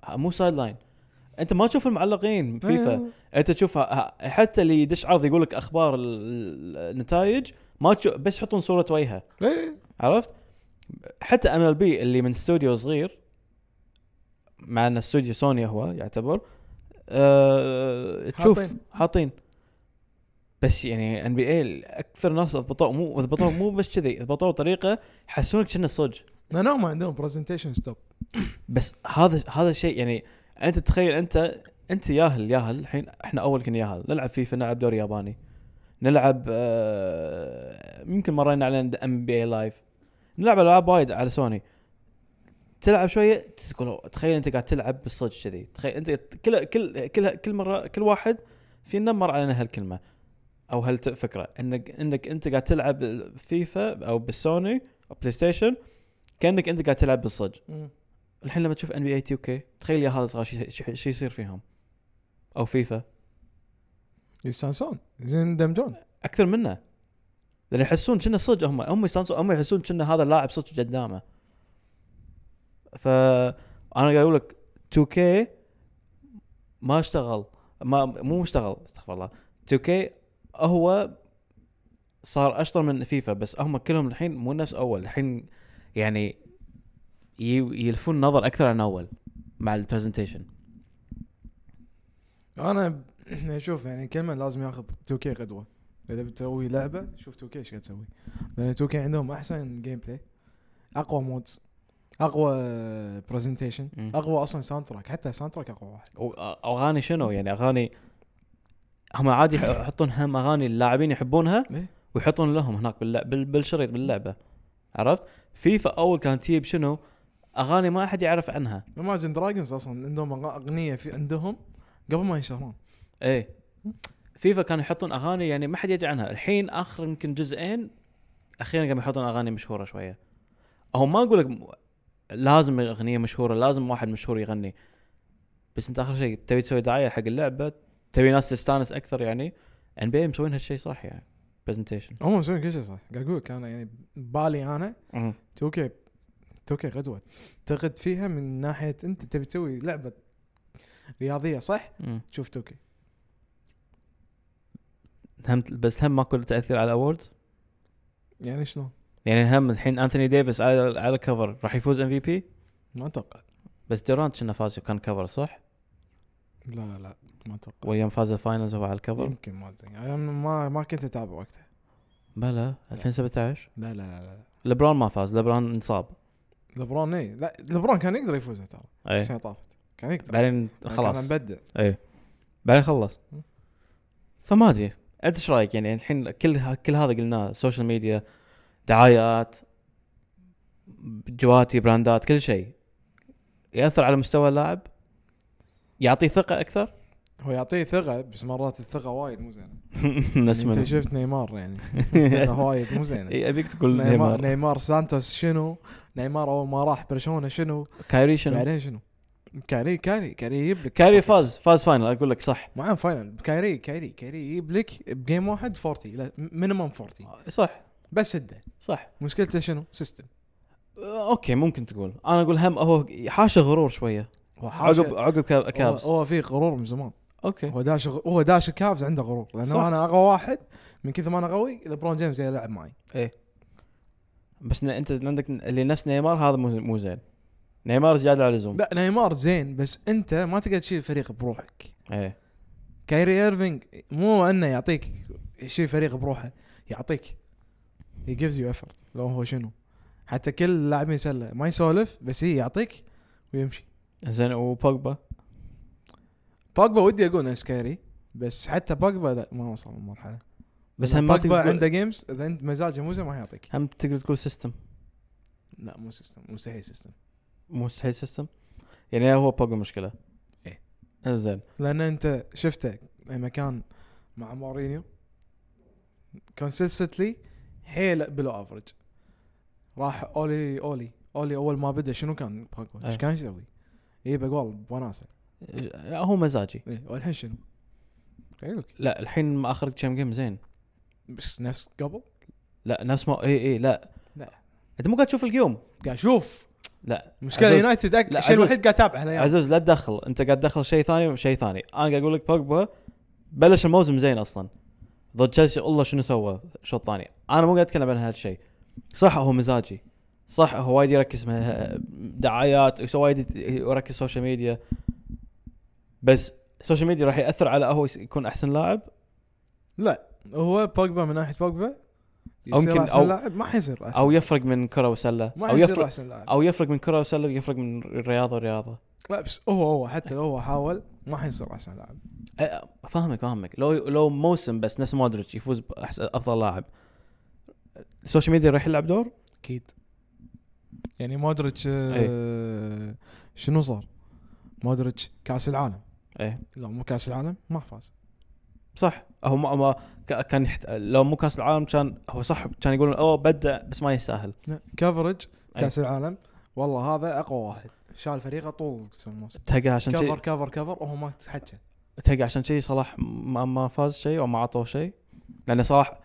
مو سايد لاين انت ما تشوف إيه. المعلقين فيفا انت تشوفها ه- حتى اللي يدش عرض يقول لك اخبار ال- ال- النتائج ما تشوف بس يحطون صوره وجهه إيه. عرفت؟ حتى ام ال بي اللي من استوديو صغير مع ان استوديو سوني هو يعتبر أه تشوف حاطين. حاطين. حاطين بس يعني ان بي اي اكثر ناس ضبطوه مو ضبطوه مو بس كذي ضبطوه بطريقه يحسونك كأنه صج لانهم عندهم برزنتيشن ستوب بس هذا هذا الشيء يعني انت تخيل انت انت ياهل ياهل الحين احنا اول كنا ياهل نلعب فيفا نلعب دوري ياباني نلعب آه يمكن مرينا على ام بي اي لايف نلعب العاب وايد على سوني تلعب شويه تقول تخيل انت قاعد تلعب بالصج كذي تخيل انت كل كل كل كل مره كل واحد في نمر علينا هالكلمه او هالفكره انك انك انت قاعد تلعب فيفا او بالسوني او بلاي ستيشن كانك انت قاعد تلعب بالصج الحين لما تشوف ان بي اي 2 كي تخيل يا هذا صغار شي- شي شي يصير فيهم او فيفا يستانسون زين يندمجون اكثر منه لان يحسون كنا صدق هم هم يستانسون هم يحسون كنا هذا اللاعب صدق قدامه ف انا قاعد اقول لك 2 كي ما اشتغل ما مو اشتغل استغفر الله 2 كي هو صار اشطر من فيفا بس هم كلهم الحين مو نفس اول الحين يعني ي- يلفون نظر اكثر عن اول مع البرزنتيشن انا *clears throat* ب- اشوف يعني كلمه لازم ياخذ 2K قدوه اذا بتسوي لعبه شوف 2K ايش قاعد تسوي لان 2K عندهم احسن جيم بلاي اقوى مودز اقوى برزنتيشن مم. اقوى اصلا ساوند تراك حتى ساوند تراك اقوى واحد اغاني شنو يعني اغاني هم عادي يح- يحطون هم اغاني اللاعبين يحبونها إيه. ويحطون لهم هناك باللع- بال- بالشريط باللعبه عرفت؟ فيفا اول كانت تجيب شنو؟ اغاني ما احد يعرف عنها Imagine دراجونز اصلا عندهم أغ- اغنيه في عندهم قبل ما ينشهرون ايه فيفا كانوا يحطون اغاني يعني ما حد يدري عنها الحين اخر يمكن جزئين اخيرا قاموا يحطون اغاني مشهوره شويه او ما اقول لك م- لازم اغنيه مشهوره لازم واحد مشهور يغني بس انت اخر شيء تبي تسوي دعايه حق اللعبه تبي ناس تستانس اكثر يعني ان بي مسوين هالشيء صح يعني برزنتيشن هم مسوين كل شيء صح قاعد اقول لك انا يعني بالي انا 2K 2K قدوه تقد فيها من ناحيه انت تبي تسوي لعبه رياضيه صح شوف 2K هم بس هم ماكو تاثير على الاوردز يعني شلون؟ يعني هم الحين انثوني ديفيس على على كفر راح يفوز ام في بي ما اتوقع بس دورانت كنا فاز وكان كفر صح؟ لا لا ما اتوقع ويوم فاز الفاينلز هو على الكفر يمكن ما ادري انا ما ما كنت اتابع وقتها بلا 2017 لا لا لا لا لبرون ما فاز لبرون انصاب لبرون اي لا لبرون كان يقدر يفوز ترى اي بس ما طافت كان يقدر إيه. بعدين يعني خلاص كان مبدع اي بعدين خلص م. فما ادري انت ايش رايك يعني الحين كل ه- كل هذا قلناه سوشيال ميديا دعايات جواتي براندات كل شيء ياثر على مستوى اللاعب يعطيه ثقه اكثر هو يعطيه ثقه بس مرات الثقه وايد مو زينه يعني انت *laughs* *laughs* نسمع شفت نيمار يعني الثقه *laughs* وايد مو زينه اي ابيك تقول نيمار إيه، نيمار نيمار سانتوس شنو؟ نيمار اول ما راح برشلونه شنو؟ كايري شنو بعدين شنو؟ كاري كاري كاري يجيب لك كايري buckets. فاز فاز فاينل اقول لك صح معاه فاينل كايري كايري كايري يجيب لك بجيم واحد 40 لا مينيمم آه. 40 صح بس هده صح مشكلته شنو؟ سيستم اوكي آه، ممكن تقول انا اقول هم هو حاشه غرور شويه عقب عقب كا- كافز هو, هو فيه غرور من زمان اوكي هو داش غ- هو داش الكافز عنده غرور لانه إيه. صح. انا اقوى واحد من كثر ما انا قوي لبرون جيمس جاي يلعب معي بس ن- انت عندك اللي نفس نيمار هذا مو مو زين نيمار زياده على اللزوم لا نيمار زين بس انت ما تقدر تشيل فريق بروحك ايه كايري ايرفينج مو انه يعطيك يشيل فريق بروحه يعطيك هي جيفز يو افورت لو هو شنو حتى كل اللاعبين سله ما يسولف بس هي يعطيك ويمشي زين وبوجبا باجبا ودي اقول نفس كايري بس حتى باجبا لا ما وصل المرحله بس لأن هم ما باجبا تقدر عنده عندك جيمز اذا انت مزاجه مو زين ما يعطيك هم تقدر تقول سيستم لا مو سيستم مستحيل سيستم مستحيل سيستم يعني هو بوجبا مشكله إيه. زين لان انت شفته لما كان مع مورينيو كونسistently حيل بلو افرج راح اولي اولي اولي اول ما بدا شنو كان باجبا أي. ايش كان يسوي؟ يجيب اجوال وناسه لا، هو مزاجي إيه، والحين شنو؟ غيرك لا الحين ما اخرج كم جيم زين بس نفس قبل لا نفس ما اي اي لا لا. انت مو قاعد تشوف القيوم قاعد اشوف لا مشكله عزوز. يونايتد لا، الشيء عزوز. الوحيد قاعد اتابعه يا هالأيام. عزوز لا تدخل انت قاعد تدخل شيء ثاني وشيء ثاني انا قاعد اقول لك بوجبا بلش الموسم زين اصلا ضد تشيلسي الله شنو سوى شوط ثاني انا مو قاعد اتكلم عن هالشيء صح هو مزاجي صح هو وايد يركز مع دعايات وس- وايد يت- يركز سوشيال ميديا بس السوشيال ميديا راح ياثر على هو يس- يكون احسن لاعب لا هو باجبا من ناحيه باجبا أو يصير يمكن- احسن أو- لاعب ما حيصير احسن او يفرق من كره وسله ما او حيصير يفرق احسن لاعب او يفرق من كره وسله يفرق من رياضه ورياضه لا بس هو هو حتى لو هو حاول ما حيصير احسن لاعب أه، فاهمك فاهمك لو لو موسم بس نفس مودريتش يفوز بأحسن افضل لاعب السوشيال ميديا راح يلعب دور اكيد يعني مودريتش إيه. آه شنو صار؟ مودريتش كاس العالم ايه لا مو كاس العالم ما فاز صح هو ما, ما ك- كان يحت... لو مو كاس العالم كان هو صح كان يقولون اوه بدا بس ما يستاهل لا، كفرج إيه. كاس العالم والله هذا اقوى واحد شال فريقه طول الموسم تلقى عشان كفر كذي كفر كفر وهو ما تحكى تلقى عشان كذي صلاح ما, ما فاز شيء او ما عطوه شيء لان صلاح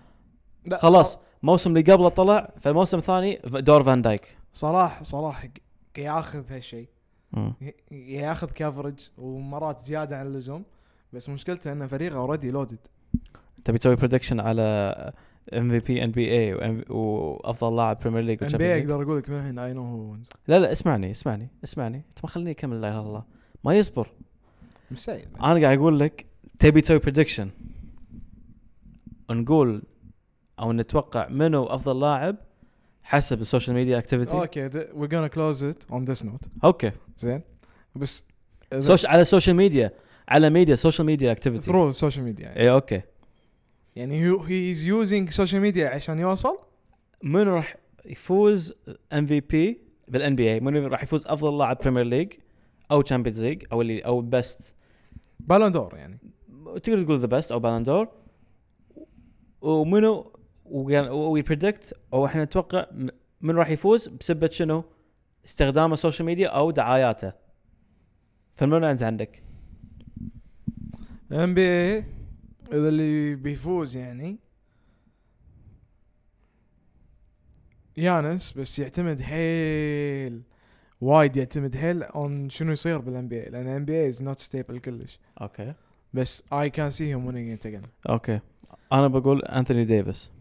لا خلاص صلاح- موسم اللي قبله طلع فالموسم الثاني ف- دور فان دايك صلاح صلاح ق- ياخذ هالشيء مم. ي- ياخذ كفرج ومرات زياده عن اللزوم بس مشكلته ان فريقه اوريدي لودد تبي تسوي بريدكشن على ام في بي ان بي اي وافضل لاعب بريمير ليج ام بي اقدر اقول لك من الحين اي نو هو وينز لا لا اسمعني اسمعني اسمعني انت ما خليني اكمل لا اله الا الله ما يصبر مش سيء انا قاعد اقول لك تبي تسوي بريدكشن نقول او نتوقع منو افضل لاعب حسب السوشيال ميديا اكتيفيتي اوكي وي جونا كلوز ات اون ذس نوت اوكي زين بس سوش على السوشيال ميديا على ميديا سوشيال ميديا اكتيفيتي ثرو السوشيال ميديا يعني اي اوكي يعني هي از يوزنج سوشيال ميديا عشان يوصل منو راح يفوز ام في بي بالان بي اي منو راح يفوز افضل لاعب بريمير ليج او تشامبيونز ليج او اللي او بيست بالون دور يعني تقدر تقول ذا بيست او بالندور ومنو وي بريدكت او احنا نتوقع م- من راح يفوز بسبه شنو؟ استخدامه السوشيال ميديا او دعاياته. فمنو انت عندك؟ ام بي اي اذا اللي بيفوز يعني يانس بس يعتمد حيل وايد يعتمد حيل اون شنو يصير بالان بي اي لان الان بي اي از نوت ستيبل كلش اوكي بس اي كان سي هيم وينينج ات اجين اوكي انا بقول انثوني ديفيس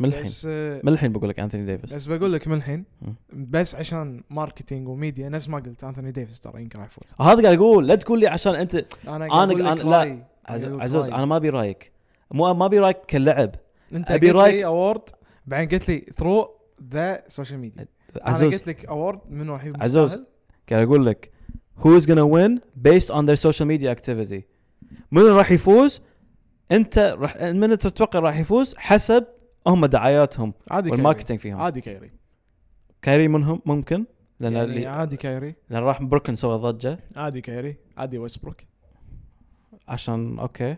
من الحين بس آه، من الحين بقول لك انثوني ديفيس بس بقول لك من الحين مم. بس عشان ماركتينج وميديا نفس ما قلت انثوني ديفيس ترى يمكن راح يفوز هذا قاعد اقول لا تقول لي عشان انت انا أنا- قاعد أقول لك أنا- لا. رأيي. عز- أقول لك عزوز رأيي. انا ما ابي رايك مو ما ابي رايك كلاعب انت أبي أبي قلت رأيك- لي اوورد بعدين قلت لي ثرو ذا سوشيال ميديا انا عزوز قلت لك اوورد من راح يفوز عزوز. يستاهل. قاعد اقول لك who is gonna win based on their social media activity من راح يفوز انت راح من أنت تتوقع راح يفوز حسب هم دعاياتهم عادي كايري والماركتينج فيهم عادي كايري كايري منهم ممكن لان يعني يعني عادي كايري لان راح بروكلين سوى ضجه عادي كايري عادي ويسبروك عشان اوكي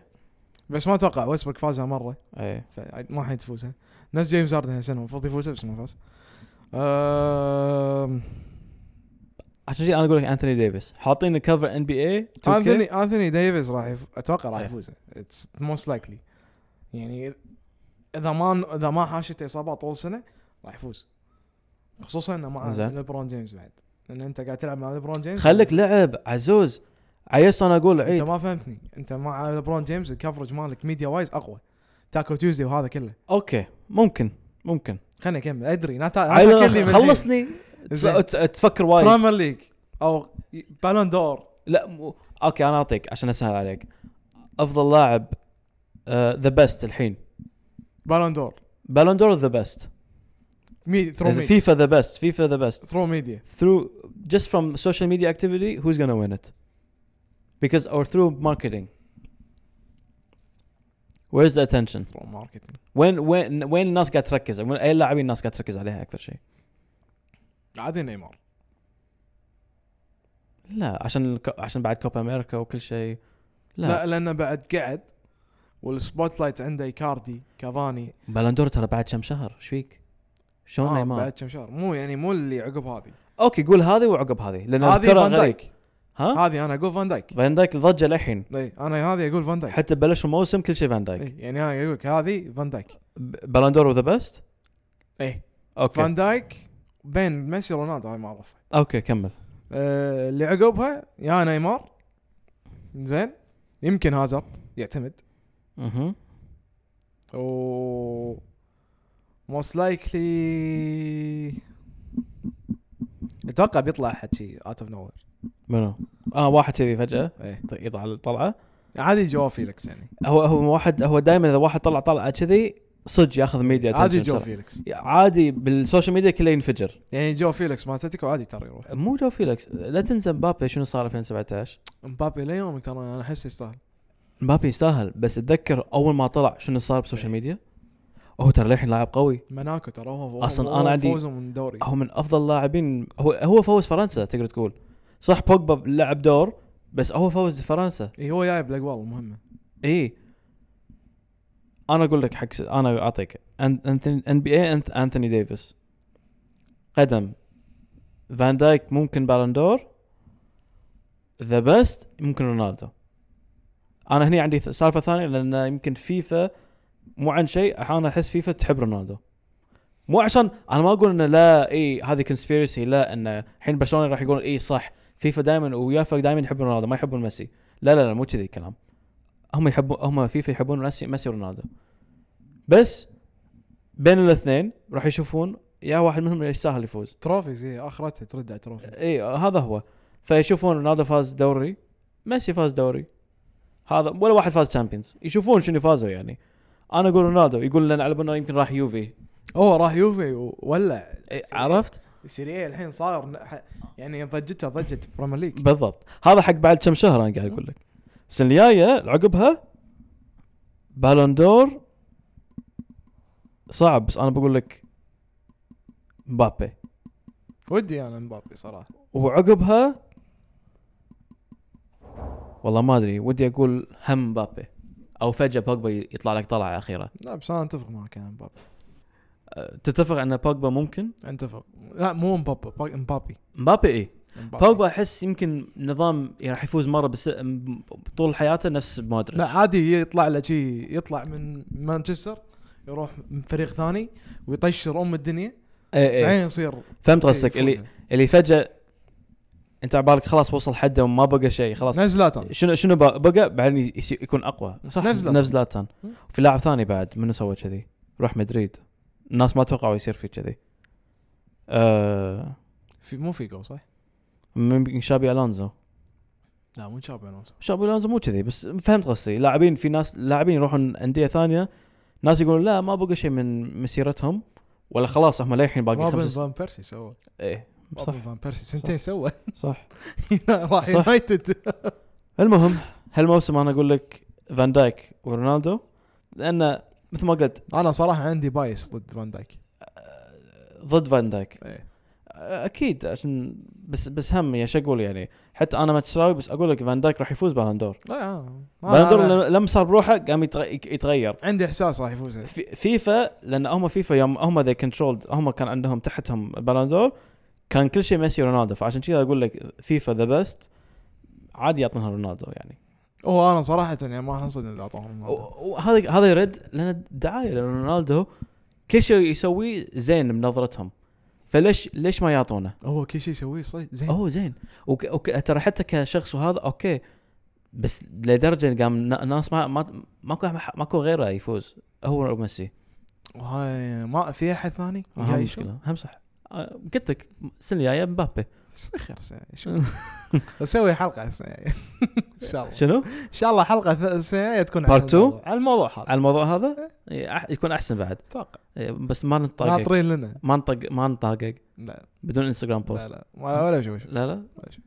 بس ما اتوقع ويسبروك فازها مره اي فما حد يفوزها ناس جيمس هاردن هالسنه المفروض يفوزها بس ما فاز آم، عشان كذي انا اقول لك انثوني ديفيس حاطين كفر ان بي اي انثوني انثوني ديفيز راح يف... اتوقع راح إيه. يفوز اتس موست لايكلي يعني اذا ما اذا ما حاشته اصابات طول السنه راح يفوز خصوصا انه مع زين. ليبرون جيمس بعد لان انت قاعد تلعب مع ليبرون جيمس خليك لعب عزوز عيس انا اقول انت عيد ما فهمتني انت مع ليبرون جيمس الكفرج مالك ميديا وايز اقوى تاكو تيوزدي وهذا كله اوكي ممكن ممكن خليني اكمل ادري لا تا- لا عيل، تاكلني من خلصني زين. تس- تفكر وايد بريمير ليج او بالون دور لا مو اوكي انا اعطيك عشان اسهل عليك افضل لاعب ذا بيست الحين بالون دور بالون دور ذا بيست ميديا ثرو ميديا فيفا ذا بيست فيفا ذا بيست ثرو ميديا through just from social media activity who's gonna win it because or through marketing where's the attention ثرو ماركتنج وين وين وين الناس قاعد تركز وين اي لاعبين الناس قاعد تركز عليها اكثر شيء عادي نيمار لا عشان الك- عشان بعد كوبا امريكا وكل شيء لا, لا, لا لانه بعد قعد والسبوت لايت عنده ايكاردي كافاني بالون دور ترى بعد كم شهر ايش فيك؟ شلون آه نيمار؟ بعد كم شهر مو يعني مو اللي عقب هذه اوكي قول هذه وعقب هذه لان هذه الكرة فان غريب. دايك ها هذه انا اقول فان دايك آه. فان دايك الضجه للحين إي، انا هذه اقول فان دايك حتى بلش الموسم كل شيء فان دايك إي، يعني انا اقول لك هذه فان دايك ب- بلندور ذا بيست إيه، ايه اوكي فان دايك بين ميسي ورونالدو هاي ما اعرفها اوكي كمل آه، اللي عقبها يا نيمار زين يمكن هازارد يعتمد اها و موست لايكلي اتوقع بيطلع احد شي اوت اوف نو وير منو؟ اه واحد كذي فجاه ايه ط- يطلع طلعه عادي جو Mm-hmm. فيليكس يعني هو هو واحد هو دائما اذا واحد طلع طلعه كذي صدق ياخذ ميديا عادي attention جو ترى. فيليكس عادي بالسوشيال ميديا كله ينفجر يعني جو فيليكس مال اتلتيكو عادي ترى يروح مو جو فيليكس لا تنسى مبابي شنو صار 2017 مبابي ليومك ترى انا احسه يستاهل مبابي يستاهل بس اتذكر اول ما طلع شنو صار إيه. بالسوشيال ميديا هو ترى للحين لاعب قوي مناكو ترى هو هو- أصلاً هو أنا عندي- فوزه من دوري هو من افضل لاعبين هو هو فوز فرنسا تقدر تقول صح بوجبا لعب دور بس هو فوز فرنسا إيه هو جايب الاقوال المهمه اي انا اقول إيه. لك حق س- انا اعطيك ان بي اي انثوني ديفيس قدم فان دايك ممكن بالندور ذا بيست ممكن رونالدو انا هني عندي ث- سالفه ثانيه لان يمكن فيفا مو عن شيء احيانا احس فيفا تحب رونالدو مو عشان انا ما اقول انه لا اي هذه كونسبيرسي لا انه الحين برشلونه راح يقول اي صح فيفا دائما ويافا دائما يحبون رونالدو ما يحبون ميسي لا لا لا مو كذي الكلام هم يحبون هم فيفا يحبون ميسي ميسي ورونالدو بس بين الاثنين راح يشوفون يا واحد منهم يستاهل يفوز تروفيز هي اخرتها ترد على تروفيز اي هذا هو فيشوفون رونالدو فاز دوري ميسي فاز دوري هذا ولا واحد فاز تشامبيونز يشوفون شنو فازوا يعني انا اقول رونالدو يقول لان على بالنا يمكن راح يوفي هو راح يوفي وولع إيه، عرفت سيريا الحين صار ن- ح- يعني ضجته ضجه بريمير ليج بالضبط هذا حق بعد كم شهر انا قاعد اقول لك السنه الجايه عقبها بالون دور صعب بس انا بقول لك مبابي ودي انا مبابي صراحه وعقبها والله ما ادري ودي اقول هم مبابي او فجاه بوجبا يطلع لك طلعه اخيره لا بس انا اتفق معك انا مبابي أه، تتفق ان بوجبا ممكن اتفق لا مو مبابي با- مبابي مبابي ايه مبابي. بوجبا احس يمكن نظام يعني راح يفوز مره بس م- طول حياته نفس مودريتش لا عادي يطلع له شي يطلع من مانشستر يروح من فريق ثاني ويطشر ام الدنيا ايه ايه بعدين يصير فهمت قصدك شي اللي يفوزها. اللي فجاه انت على بالك خلاص وصل حده وما بقى شيء خلاص نفس زلاتان شنو شنو بق- بقى بعدين يس- يكون اقوى صح نفس زلاتان. نفس زلاتان مم. في لاعب ثاني بعد منو سوى كذي راح مدريد الناس ما توقعوا يصير فيه كذي آه في مو فيجو صح؟ ممكن شابي الونزو لا مو تشابي الونسو شابي الونزو مو كذي بس فهمت قصدي لاعبين في ناس لاعبين يروحون انديه ثانيه ناس يقولون لا ما بقى شيء من مسيرتهم ولا خلاص هم للحين باقي روبن خمس فان بيرسي سوى ايه صح روبن فان بيرسي سنتين سوى *laughs* صح راح صح. يونايتد المهم هالموسم انا اقول لك فان دايك ورونالدو لانه مثل ما قلت انا صراحه عندي بايس ضد فان دايك ضد فان دايك إيه. اكيد عشان بس بس هم يعني شو اقول يعني حتى انا مانشستراوي بس اقول لك فان دايك راح يفوز بالون دور لا آه. أنا- بالون أنا- دور لما صار بروحه قام يتغ- يتغير عندي احساس راح يفوز في- فيفا لان هم فيفا يوم هم ذي كنترولد هم كان عندهم تحتهم بالون دور كان كل شيء ميسي رونالدو فعشان كذا اقول لك فيفا ذا بيست عادي يعطونها رونالدو يعني هو انا صراحه يعني ما انصدم اذا اعطاهم هذا. و- وهذا هذا يرد لان دعايه لرونالدو كل شيء يسويه زين بنظرتهم فليش ليش ما يعطونه؟ هو كل شيء يسويه صح زين اوه زين وك... وك... ترى حتى كشخص وهذا اوكي بس لدرجه قام نا- ناس ما ما ماكو ماكو غيره يفوز هو ميسي وهاي ما في احد ثاني هم مشكله هم صح آه، قلت لك السنه الجايه مبابي استخر اسوي حلقه السنه الجاية. ان شاء الله شنو؟ ان شاء الله حلقه ث- السنه الجاية تكون Part على two؟ آه، الموضوع- على الموضوع هذا على الموضوع هذا إيه، أح- يكون احسن بعد اتوقع إيه، بس ما نطاقق ناطرين لنا ما نطق ما نطاقق لا بدون انستغرام لا بوست لا ما- ولا شيء ولا شيء لا لا ولا شيء.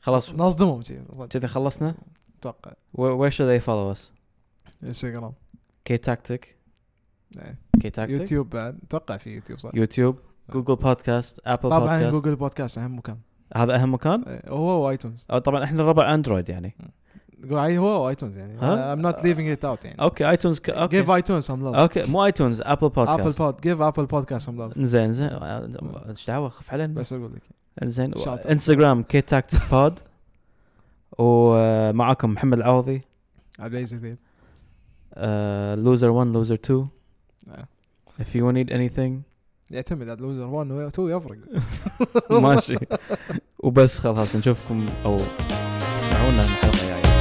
خلاص نصدمهم شيء كذا خلصنا اتوقع وير شود اي فولو اس انستغرام كي تاكتيك إيه. كي تاكتيك يوتيوب بعد اتوقع في يوتيوب صح يوتيوب جوجل بودكاست ابل طبعا بودكاست جوجل بودكاست اهم مكان هذا اهم مكان إيه، هو وايتونز أو طبعا احنا ربع اندرويد يعني هو وايتونز يعني ها؟ I'm not leaving it out يعني اوكي ايتونز ك... اوكي give iTunes some love اوكي مو ايتونز ابل ابل بودكاست بود give ابل بودكاست some love انزين انزين ايش دعوه خف علينا بس اقول لك انزين Shout out. انستغرام كي تاكتيك بود ومعاكم آه، محمد العوضي آه، عبد العزيز الذيب لوزر 1 لوزر 2 آه. if you need anything يعتمد على لوزر 1 و 2 يفرق *laughs* ماشي وبس خلاص نشوفكم او تسمعونا الحلقه الجايه